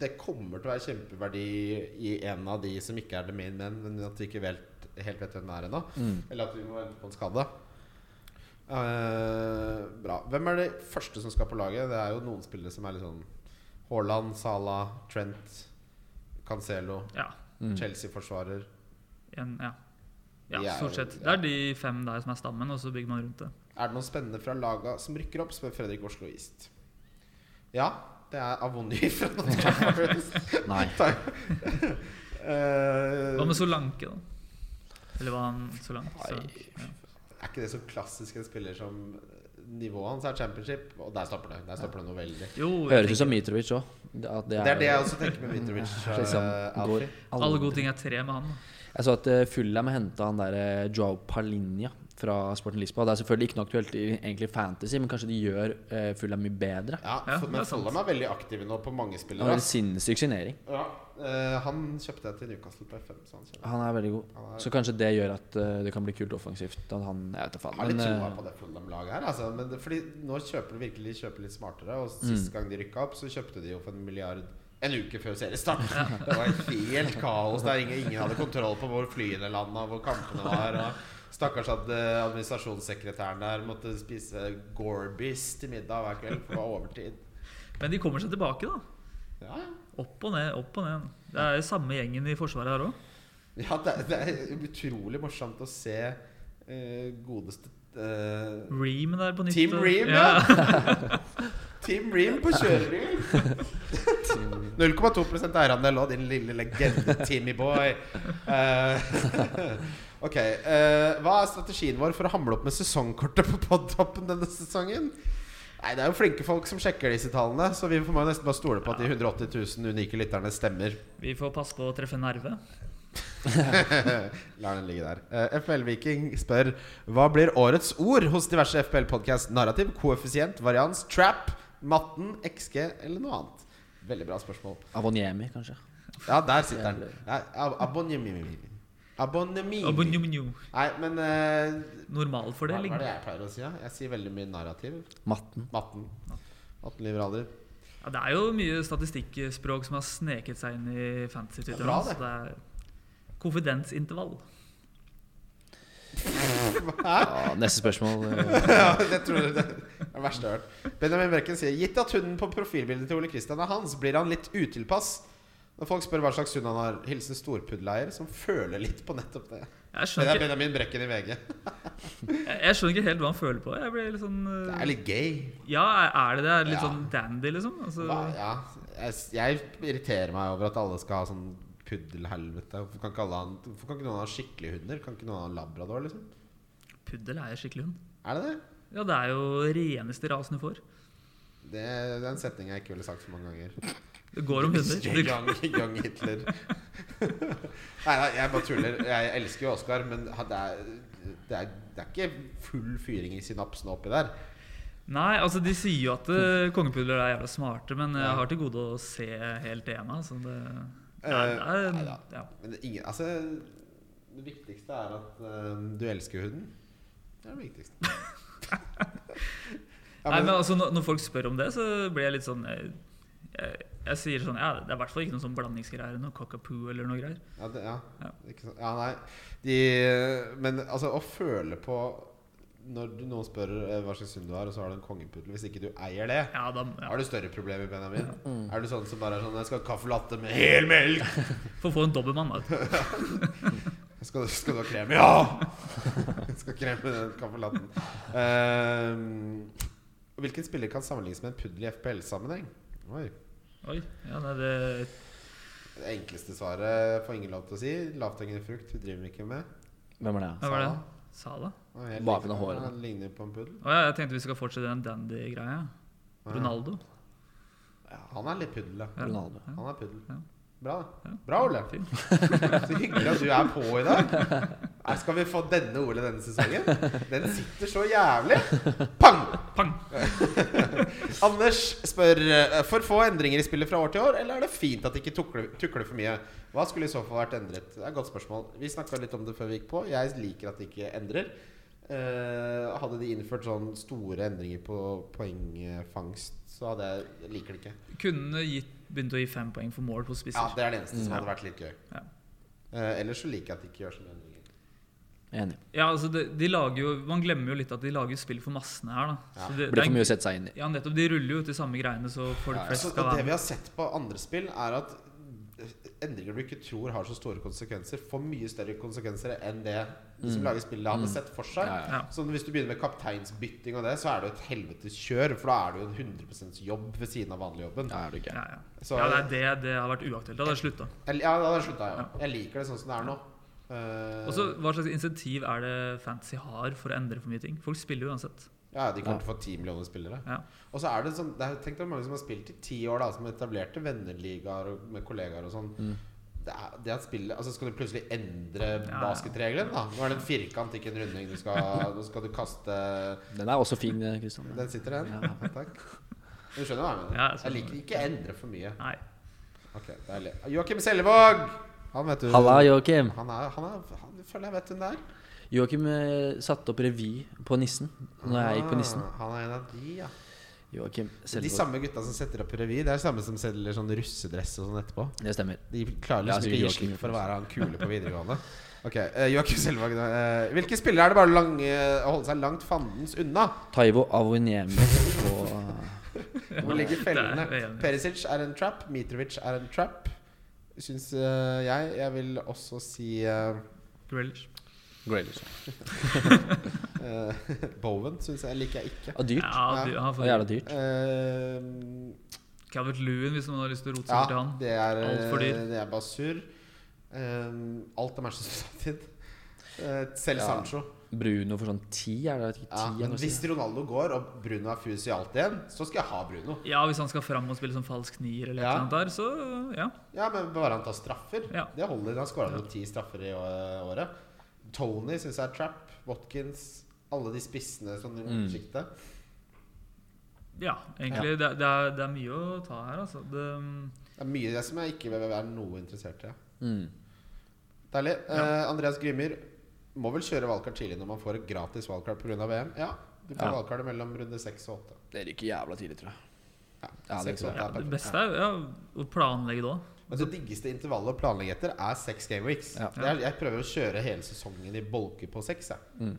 S4: det kommer til å være kjempeverdi i en av de som ikke er the main men, men at vi ikke vet, helt vet hvem det er ennå.
S3: Mm.
S4: Eller at vi må vente på en skade. Eh, bra. Hvem er de første som skal på laget? Det er jo noen spillere som er litt sånn Haaland, Salah, Trent, Cancelo,
S1: Ja,
S3: Mm.
S4: Chelsea-forsvarer.
S1: en, ja. ja,
S4: De er
S1: stort
S4: jo-
S1: sett. Det
S4: ja.
S1: er de fem der som er stammen, og så bygger man rundt det.
S4: Er det noen spennende fra laga som rykker opp? spør Fredrik Oslo East. Ja, det er Avony [laughs] fra Nottingham Forest.
S3: [laughs]
S4: [laughs]
S3: Nei.
S4: Takk.
S1: Hva med
S4: Eh,
S1: Solanke, da? Eller var han Solanke?
S3: Nei.
S1: Solanke, ja.
S4: er ikke det så klassisk en spiller som eh, Nivået hans er championship, og der stopper det. Der stopper det noe veldig.
S1: Jo,
S3: Høres ut som Mitrovic òg. At det
S4: Det
S3: er,
S4: er det jeg også tenker med Mitrovic.
S3: [laughs]
S4: eh,
S3: liksom, går
S4: Alfie.
S1: alle gode ting er tre med han. da.
S3: Jeg så at eh, Fulham henta han der eh, Joao Palinha fra Sporting Lisboa. Det er selvfølgelig ikke noe aktuelt i egentlig fantasy, men kanskje de gjør eh, Fulham mye bedre.
S4: Ja,
S1: Ja, det er
S4: for, men
S1: sant.
S4: Follum er veldig aktive nå på mange
S3: Det var
S4: spillere.
S3: en sinnssyk signering.
S4: Ja, eh, han kjøpte jeg til Newcastle på FM. Så han kjøper.
S3: Han er veldig god.
S4: Han er-
S3: Så kanskje det gjør at eh, det kan bli kult offensivt. At han, jeg vet da faen.
S4: Jeg har litt
S3: Men,
S4: troa
S3: eh,
S4: på det Fulham-laget her. Altså. Men det, fordi nå kjøper de virkelig de kjøper litt smartere. Og
S3: Mm.
S4: sist gang de rykka opp, så kjøpte de jo for en milliard en uke før seriestart. [laughs] Det var helt kaos. Der ingen, ingen hadde kontroll på hvor flyene landa, hvor kampene var. Og stakkars hadde administrasjonssekretæren der måtte spise Gorbis til middag hver kveld, for det var overtid.
S1: Men de kommer seg tilbake, da.
S4: Ja, ja.
S1: Opp og ned, opp og ned. Det er jo samme gjengen i Forsvaret her òg.
S4: ja det, er- det er utrolig morsomt å se eh, godeste eh,
S1: Ream der på nytt.
S4: Team
S1: og-
S4: Ream, ja. Team Ream på kjørebil. 0,2 eierandel og din lille legende Timmy Boy. Eh, [laughs] ok, eh, Hva er strategien vår for å hamle opp med sesongkortet på Podtoppen denne sesongen? Nei, Det er jo flinke folk som sjekker disse tallene, så vi må jo nesten bare stole på at de 180 000 unike lytterne stemmer.
S1: [laughs] Vi får passe på å treffe nerve.
S4: La den ligge der. Eh, FPL Viking spør Hva blir årets ord hos diverse FPL Podcast? Narrativ, koeffisient, varians, trap, matten, XG eller noe annet? Veldig bra spørsmål.
S3: Avonyemi, kanskje.
S4: Ja, der sitter den. Ja, ab- Abonnemimi. Abonnemi.
S1: Abonjomenjo.
S4: Nei, men eh, hva,
S1: Normalfordeling.
S4: hva er det jeg pleier å si? Ja? Jeg sier veldig mye narrativ.
S3: Matten.
S4: Matten. Matten livrader.
S1: Ja, det er jo mye statistikkspråk som har sneket seg inn i
S4: Det er
S1: fantasy-tittelen.
S4: bra,
S1: så
S4: det.
S1: det er konfidensintervall.
S3: Ja, neste spørsmål. eh,
S4: Ja, det tror jeg det er det verste jeg har hørt. Benjamin Brekken sier Gitt at hunden på profilbildet til Ole Kristian er hans, blir han litt utilpass. Når folk spør hva slags hund han har, hilsen storpuddeleier som føler litt på nettopp det.
S1: Jeg
S4: Det
S1: skjønner,
S4: er
S1: ikke,
S4: Benjamin Brekken i VG.
S1: jeg, jeg skjønner ikke helt hva han føler på. Jeg blir litt sånn
S4: Det
S1: eh,
S4: er litt gay.
S1: Ja, er- er det det? Er det litt
S4: Ja.
S1: sånn dandy, liksom? Altså,
S4: Hva- Ja, jeg, jeg irriterer meg over at alle skal ha sånn puddelhelvete. Hvorfor kan ikke, alle ha, en- hvorfor kan ikke noen ha skikkelige hunder? Kan ikke noen ha en labrador, liksom?
S1: puddel er jo skikkelig hund.
S4: Er det det?
S1: Ja, det er jo reneste rasen du får.
S4: Det, det er en setning jeg ikke ville sagt så mange ganger.
S1: Det går om hunder. Du,
S4: Young, young
S1: [laughs]
S4: Hitler. nei, nei, jeg bare tuller. Jeg elsker jo Oscar, men ha- det er, det er, det er ikke full fyring i synapsene oppi der.
S1: nei, altså de sier jo at eh, kongepudler er jævla smarte, men
S4: Mm.
S1: jeg
S4: Ja.
S1: har til gode å se helt ena. Så altså. det, Nei,
S4: Eh,
S1: det er-
S4: neida.
S1: ja.
S4: Men det, er ingen, altså, det viktigste er at eh, du elsker hunden. Det er det
S1: [laughs]
S4: viktigste. ja,
S1: Nei,
S4: men,
S1: men altså, når, når folk spør om det, så blir jeg litt sånn eh, jeg, jeg sier sånn Ja, det er i hvert fall ikke noe sånn blandingsgreier. Noe cockapoo eller noe greier.
S4: ja, det, ja,
S1: Ja.
S4: Ikke sant? ja, nei. De, men altså, å føle på Når du, noen spør eh, hva slags hund du har, og så har du en kongepuddel Hvis ikke du eier det,
S1: Ja, da,
S4: har
S1: ja.
S4: du større problemer, Benjamin.
S3: Mm.
S4: Er du sånn som bare er sånn 'Jeg skal ha kaffe latte med hel melk'.
S1: For å få en dobbeltmann, da.
S4: Skal du, skal du ha krem? Ja! [laughs] Jeg skal ha krem med den kaffelatten. Ehm, hvilken spiller kan sammenlignes med en puddel i FPL-sammenheng? Oi.
S1: Oi. Ja, nei, det
S4: Det enkleste svaret får ingen lov til å si. Lavthengende frukt vi driver ikke med.
S3: Hvem er det?
S1: Hva var det?
S4: Sala.
S1: Sala?
S4: Han er helt
S3: Bare på
S4: lik-
S3: det håret, da.
S4: Han ligner på en puddel.
S1: Å ja, jeg tenkte vi skal fortsette den dandy-greia. Ronaldo.
S4: Ja, han er litt puddel, da.
S3: Ronaldo.
S4: Han er puddel.
S1: Ja.
S4: Bra.
S1: Ja.
S4: Bra, Ole.
S1: Fint.
S4: Så hyggelig at du er på i dag. Nei, Skal vi få denne Ole denne sesongen? Den sitter så jævlig. Pang!
S1: Pang!
S4: Anders spør eh, For få endringer i spillet fra år til år, eller er det fint at det ikke tukler, tukler for mye? Hva skulle i så fall vært endret? Det er et godt spørsmål. Vi snakka litt om det før vi gikk på. Jeg liker at det ikke endrer. Eh, hadde de innført sånn store endringer på poengfangst, så hadde jeg jeg liker det ikke.
S1: Kunne gitt, begynt å gi fem poeng for mål på
S4: Ja,
S1: spisser.
S4: Det er det eneste som hadde vært litt gøy.
S1: Mm, Ja.
S4: Eh, ellers så liker jeg at de ikke gjør sånne endringer.
S3: Enig.
S1: Ja, altså de, de lager jo, Man glemmer jo litt at de lager spill for massene her. da
S4: Ja,
S1: Så det,
S3: Blir
S1: det
S3: for
S1: er,
S3: mye å sette seg inn i.
S1: ja, nettopp, De ruller jo ut de samme greiene, så folk
S4: Ja,
S1: flest
S4: så,
S1: skal
S4: og det
S1: være
S4: vi
S1: med.
S4: har sett på andre spill, er at endringer du ikke tror har så store konsekvenser, får mye større konsekvenser enn det de som lager spillet, hadde sett for seg.
S3: Mm. Ja, ja.
S1: Ja.
S4: Så hvis du begynner med kapteinsbytting og det, så er det jo et helvetes kjør. For da er det jo en 100 jobb ved siden av vanligjobben.
S3: Ja, er du gæren.
S1: Ja, ja.
S4: Så-
S1: ja, det er det det har vært uaktuelt. Da hadde jeg slutta.
S4: Jeg- Ja, da slutta jeg òg. Jeg liker det sånn som det er nå. Eh,
S1: Og så, Hva slags insentiv er det Fantasy har for å endre for mye ting? Folk spiller jo uansett.
S4: ja, de kommer til å få ti millioner spillere.
S1: Ja.
S4: Og så er det sånn det er, Tenk deg mange som har spilt i ti år, da, som etablerte venneligaer og- med kollegaer og sånn. Det er, det at spillet, altså Skal du plutselig endre
S1: Mm. ja.
S4: basketregelen? da Nå er det en firkant, ikke en runding.
S1: [laughs]
S4: Du skal, nå skal du kaste
S3: Den er også fin, eh, Kristian.
S4: Den sitter, den.
S3: Ja.
S4: [laughs] Takk. Du skjønner hva jeg mener?
S1: Ja, jeg
S4: jeg
S1: skjønner.
S4: liker ikke endre for mye.
S1: Nei.
S4: Ok, deilig Joakim Sellevåg! Han vet du
S3: Halla, Joakim.
S4: Han er, han er han, Føler jeg vet hvem det er.
S3: Joakim eh, satte opp revy på Nissen Når jeg gikk på Nissen.
S4: Ah, Han er en av de, ja.
S3: Joakim
S4: De
S3: Selvåg.
S4: samme gutta som setter opp revy, det er samme som selger sånn russedress og sånn etterpå.
S3: Det stemmer.
S4: De klarer
S3: Ja,
S4: liksom ikke
S3: sikkert
S4: å gi
S3: Joakim
S4: slipp for å være han kule på videregående. [laughs] Ok, eh, Joakim Selvåg, eh, hvilke spillere er det bare å lang- eh, å holde seg langt fandens unna?
S3: Taivo Avonyemi og
S4: Hvor
S1: [laughs]
S4: ligger
S1: Det
S4: fellene?
S1: er jeg enig i.
S4: Perisic er en trap. Mitrovic er en trap. Syns eh, jeg. Jeg vil også si eh,
S1: Grealish.
S3: Graylish.
S4: eh, [laughs] Bowen syns jeg liker jeg ikke.
S3: Og dyrt.
S1: Ja, du, han
S3: Og
S1: får
S3: jævla dyrt.
S4: Eh,
S1: Calvert Lewin, hvis noen har lyst til å rote seg
S4: Ja,
S1: bort til han.
S4: det er, eh,
S1: Alt for dyr.
S4: det er bare surr. Ehm, alt er Manchester United. Eh, selv
S3: Ja.
S4: Sancho.
S3: Bruno for sånn ti, er det ikke
S4: Ja,
S3: ti?
S4: men
S3: eller noe
S4: hvis
S3: sånt?
S4: Ronaldo går, og Bruno er fus i alt igjen, så skal jeg ha Bruno.
S1: Ja, Hvis han skal fram og spille som falsk nier, eller
S4: Ja.
S1: noe der, så ja.
S4: Ja, Men bare han tar straffer.
S1: Ja.
S4: Det holder. Han skåra jo ti straffer i å- året. Tony syns jeg er trap. Watkins. Alle de spissene som du
S3: Mm.
S4: siktet.
S1: ja egentlig. Det, det, er, det er mye å ta her, altså. Det,
S4: Det er mye i det som jeg ikke vil være noe interessert i.
S3: Mm.
S4: Deilig. Eh, Andreas Grimyr må vel kjøre valgkart tidlig når man får et gratis valgkart pga. VM? Ja, du får
S3: Ja.
S4: valgkart mellom runde seks og åtte.
S3: Det ryker jævla tidlig, tror jeg.
S4: Ja,
S3: Ja, det er
S4: seks
S3: ikke
S4: og åtte
S3: så-
S1: ja,
S4: er
S1: det
S4: perfekt.
S1: beste er ja, å planlegge det òg.
S4: Men det diggeste intervallet å planlegge etter er seks game weeks.
S3: Ja.
S4: Det er, jeg prøver å kjøre hele sesongen i bolker på seks. Jeg.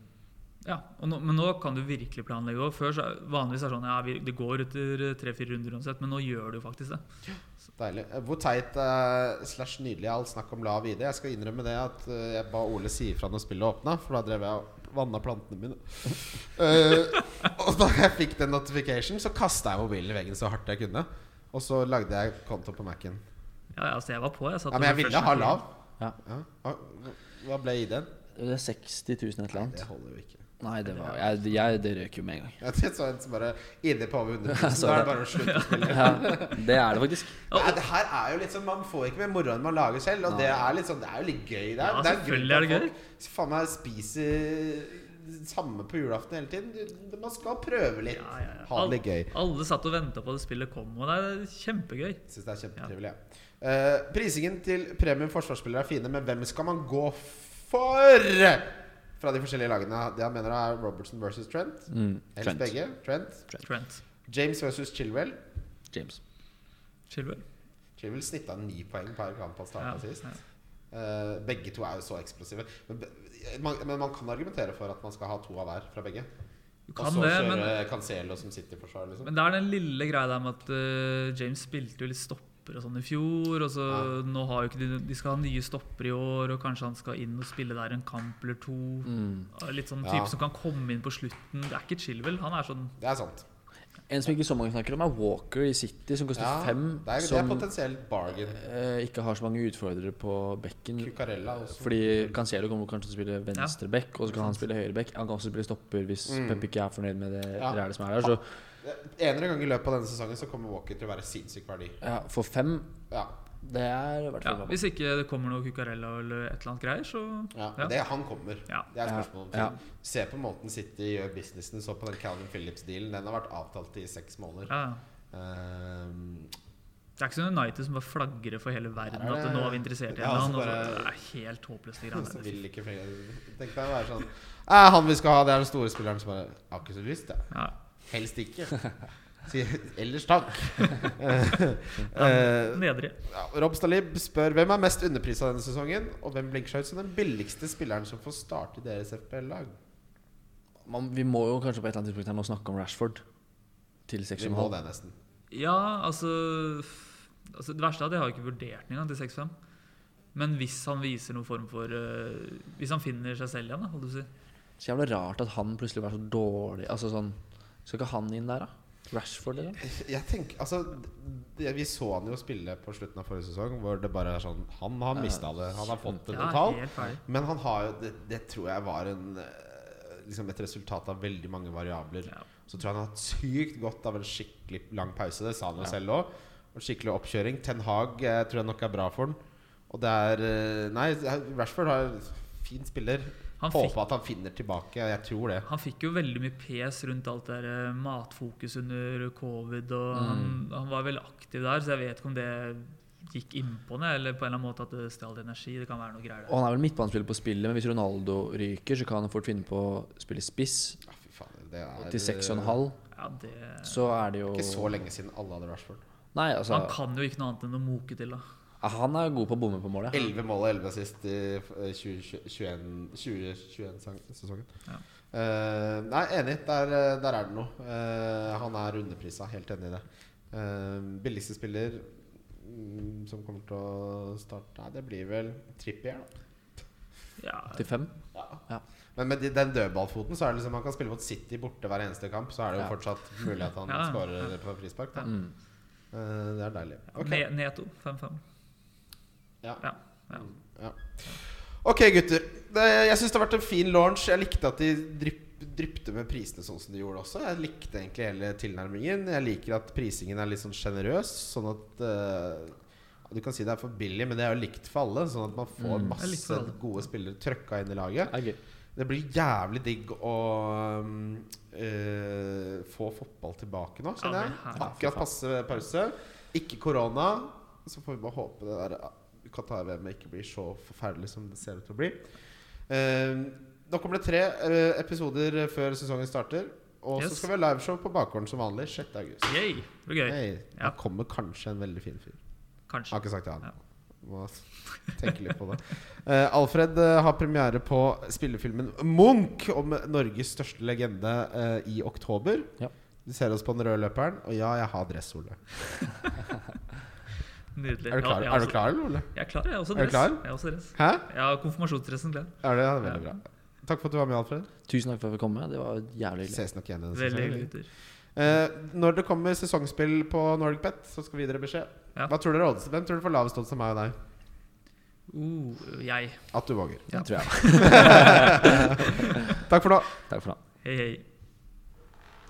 S1: Ja, og nå, men nå kan du virkelig planlegge òg. Før så er- vanligvis er det sånn ja, vi, det går etter eh, tre-fire runder uansett, men nå gjør du jo faktisk det.
S4: Deilig. Eh, Hvor teit eh, slash nydelig er alt snakk om lav ID? Jeg skal innrømme det at eh, jeg ba Ole si ifra når spillet åpna, for da drev jeg og vanna plantene mine. Eh, og da jeg fikk den notification, så kasta jeg mobilen i veggen så hardt jeg kunne. Og så lagde jeg konto på Mac-en.
S1: Ja, altså, jeg var på. Jeg satt
S4: Ja, men jeg
S1: over
S4: ville
S1: første
S4: ha
S1: tur.
S4: lav.
S3: Ja.
S4: Ja. Hva- Hva ble ID-en?
S3: Det er 60 000 et eller annet.
S4: Det holder jo ikke.
S3: Nei, det var Jeg, jeg det røk jo med en gang.
S4: Jeg så en som bare ID på over 100 000.
S3: [laughs] så
S4: Da er
S3: det.
S4: det bare å slutte å spille.
S3: [laughs] Ja, det er det faktisk.
S4: Nei, det her er jo litt sånn Man får ikke mer moro enn man lager selv. Og det er litt sånn Det er jo litt gøy. Det er,
S1: Ja,
S4: det er en grunn
S1: selvfølgelig er det
S4: til at folk Faen meg spiser samme på julaften hele tiden. Du- du- Man skal prøve litt.
S1: Ja, ja, ja.
S4: Ha det litt gøy.
S1: Alle, alle satt og venta på at spillet kom, og det er kjempegøy.
S4: Syns det er kjempetrivelig. Ja. Eh, prisingen til premium forsvarsspillere er fine, men hvem skal man gå for fra de forskjellige lagene? Det han mener er Robertson versus Trent.
S3: Mm,
S4: Helst
S3: Trent.
S4: begge. Trent.
S1: Trent.
S4: James versus Chilwell.
S3: James.
S1: Chilwell.
S4: Chilwell snitta ni poeng per kamp han starta
S1: Ja,
S4: sist.
S1: ja.
S4: Eh, begge to er jo så eksplosive. Men, be- man, men man kan argumentere for at man skal ha to av hver fra begge.
S1: Du
S4: Og
S1: kan
S4: så
S1: det, men,
S4: kjøre Cancelo som sitter i forsvar, liksom.
S1: men det er den lille greia der med at eh, James spilte jo litt stopper og sånn i fjor. Og så nå har jo ikke de, de skal ha nye stopper i år, og kanskje han skal inn og spille der en kamp eller to. Og Litt sånn type
S4: Mm. Ja.
S1: som kan komme inn på slutten. Det er ikke Chilwell. Han er sånn
S4: Det er sant.
S3: En som ikke så mange snakker om, er Walker i City, som koster
S4: Ja,
S3: fem.
S4: det, er, det er
S3: som
S4: potensielt bargain.
S3: eh, ikke har så mange utfordrere på bekken.
S4: Cucarella også.
S3: Fordi Cancelo kommer kanskje til å spille venstre back, og så kan han spille høyre back. Han kan også spille stopper hvis Pep ikke er fornøyd med det
S4: Mm. Ja.
S3: rælet som er der. Så
S4: En eller annen gang i løpet av denne sesongen så kommer Walker til å være sinnssyk verdi.
S3: ja, for fem,
S4: Ja,
S3: det er i hvert
S1: ja,
S3: fall
S1: Hvis ikke det kommer noe Cucarella eller et eller annet greier, så
S4: ja.
S1: Ja.
S4: Det, Han kommer.
S1: Ja.
S4: Det er
S3: Ja,
S4: spørsmålet.
S3: ja.
S4: Se på måten City gjør businessen. Så på den Calvin Phillips-dealen. Den har vært avtalt i seks måneder.
S1: ja.
S4: Ehm,
S1: Det er ikke som United som bare flagrer for hele verden
S4: Nei, nei,
S1: at nå
S4: nei.
S1: er vi interessert i en
S4: Ja,
S1: eller
S4: så
S1: annen. og så-
S4: bare- Altså,
S1: Det er helt håpløst. de
S4: så
S1: greiene der. altså.
S4: vil ikke flere Tenk deg å være sånn «Eh, Han vi skal ha, det er den store spilleren som bare Jeg har ikke så lyst, jeg.
S1: Ja.
S4: Helst ikke. [laughs] Sier ellers takk. [laughs]
S1: Ja,
S4: Eh,
S1: Nedre.
S4: Ja, Rob Stalib spør hvem er mest underprisa denne sesongen, og hvem blinker seg ut som den billigste spilleren som får starte i deres FPL-lag?
S3: Man, vi må jo kanskje på et eller annet tidspunkt her nå snakke om Rashford til
S4: Vi må
S3: 6,5.
S4: det, nesten.
S1: Ja, altså, f- altså Det verste er at jeg har ikke vurdert den engang til 6-5. Men hvis han viser noen form for eh, Hvis han finner seg selv igjen, da, holdt du på å si.
S3: Så jævlig rart at han plutselig var så dårlig. Altså sånn Skal ikke han inn der, da? Rashford, eller?
S4: Jeg tenker, altså det, Vi så han jo spille på slutten av forrige sesong, hvor det bare er sånn Han har mista det. Han har fått det
S1: Ja,
S4: totalt.
S1: helt ferdig.
S4: Men han har jo Det, det tror jeg var en eh, Liksom et resultat av veldig mange variabler.
S1: Ja.
S4: Så tror jeg han har hatt sykt godt av en skikkelig lang pause. Det sa han jo selv òg. Og skikkelig oppkjøring. Ten Hag eh, tror jeg nok er bra for han. Og det er eh, Nei, Rashford har fin spiller.
S1: Han
S4: Håper
S1: fikk-
S4: at han finner tilbake. Jeg tror det.
S1: Han fikk jo veldig mye pes rundt alt det der eh, matfokus under covid, og
S4: Mm.
S1: han, han var veldig aktiv der, så jeg vet ikke om det gikk innpå ham, eller på en eller annen måte at det stjal energi. Det kan være noe greier
S3: Og
S1: der.
S3: han er vel midtbanespiller på spillet, men hvis Ronaldo ryker, så kan han fort finne på å spille spiss
S4: Ja, fy faen, det er
S3: til 6,5.
S1: Ja, det,
S3: Så er det jo
S4: Ikke så lenge siden alle hadde Rashford.
S3: Nei, altså
S1: man kan jo ikke noe annet enn å moke til, da.
S3: Han er god på å bomme på målet.
S4: 11 mål og 11 assist i eh, 2021-sesongen.
S1: Ja.
S4: nei, enig. Der, eh, der er det noe. Eh, han er underprisa. Helt enig i det. Eh, billigste spiller mm, som kommer til å starte Nei, det blir vel Trippier, da.
S1: Ja,
S3: Til fem. Ja.
S4: Men med de- den dødballfoten så er det liksom han kan spille mot City borte hver eneste kamp. Så er det jo
S3: Ja.
S4: fortsatt mulig at han
S1: Ja,
S4: skårer på frispark. Da. Eh, det er deilig. mm, Ok.
S1: Ne- Neto 5-5.
S4: Ja.
S1: Ja, ja.
S4: Ja. Ok, gutter. Det, jeg syns det har vært en fin launch. Jeg likte at de drypp, dryppte med prisene sånn som de gjorde også. Jeg likte egentlig hele tilnærmingen. Jeg liker at prisingen er litt sånn sjenerøs, sånn at eh, Du kan si det er for billig, men det er jo likt for alle. Sånn at man får
S1: Mm. Det er likt for
S4: masse
S1: alle.
S4: gode spillere trøkka inn i laget.
S3: Det er gøy.
S4: Det blir jævlig digg å um, eh, få fotball tilbake nå,
S1: Ja,
S4: kjenner
S1: men
S4: jeg.
S1: herre,
S4: Akkurat passe pause. Ikke korona. Så får vi bare håpe det der eh, Qatar-VM-et ikke blir så forferdelig som det ser ut til å bli. Um, nå kommer det tre eh, episoder før sesongen starter. Og så
S1: Yes.
S4: skal vi ha liveshow på Bakgården som vanlig 6. august.
S1: Yay, det blir gøy.
S4: Hey,
S1: Ja.
S4: Da kommer kanskje en veldig fin fyr. Jeg
S1: Kanskje.
S4: har ikke sagt det han.
S1: Ja.
S4: Må tenke litt på det. Eh, Alfred eh, har premiere på spillefilmen Munch om Norges største legende eh, i oktober.
S3: Ja.
S4: Du ser oss på den røde løperen, og ja, jeg har dress, Ole.
S1: Nydelig.
S4: Er du
S1: Ja,
S4: klar,
S1: jeg
S4: er du klar eller, Ole?
S1: også- Jeg er klar, jeg er også
S4: Er du
S1: dress.
S4: klar?
S1: Jeg er også dress.
S4: Hæ?
S1: Jeg har konfirmasjonsdressen klar.
S4: Er det ja, veldig bra? Takk for at du var med, Alfred.
S3: Tusen takk for at jeg fikk komme. Det var jævlig hyggelig.
S4: Ses nok igjen. i denne
S1: Veldig hyggelig,
S4: sesongen.
S1: gutter.
S4: Eh, når det kommer sesongspill på Nordic Pet, så skal vi gi dere beskjed.
S1: Ja.
S4: Hva tror dere odds- Hvem tror dere får lavest odds av meg og deg?
S1: Uh, jeg.
S4: At du våger.
S1: Ja.
S3: Tror jeg. [laughs]
S4: Takk for nå.
S3: Takk for nå.
S1: Hei, hei.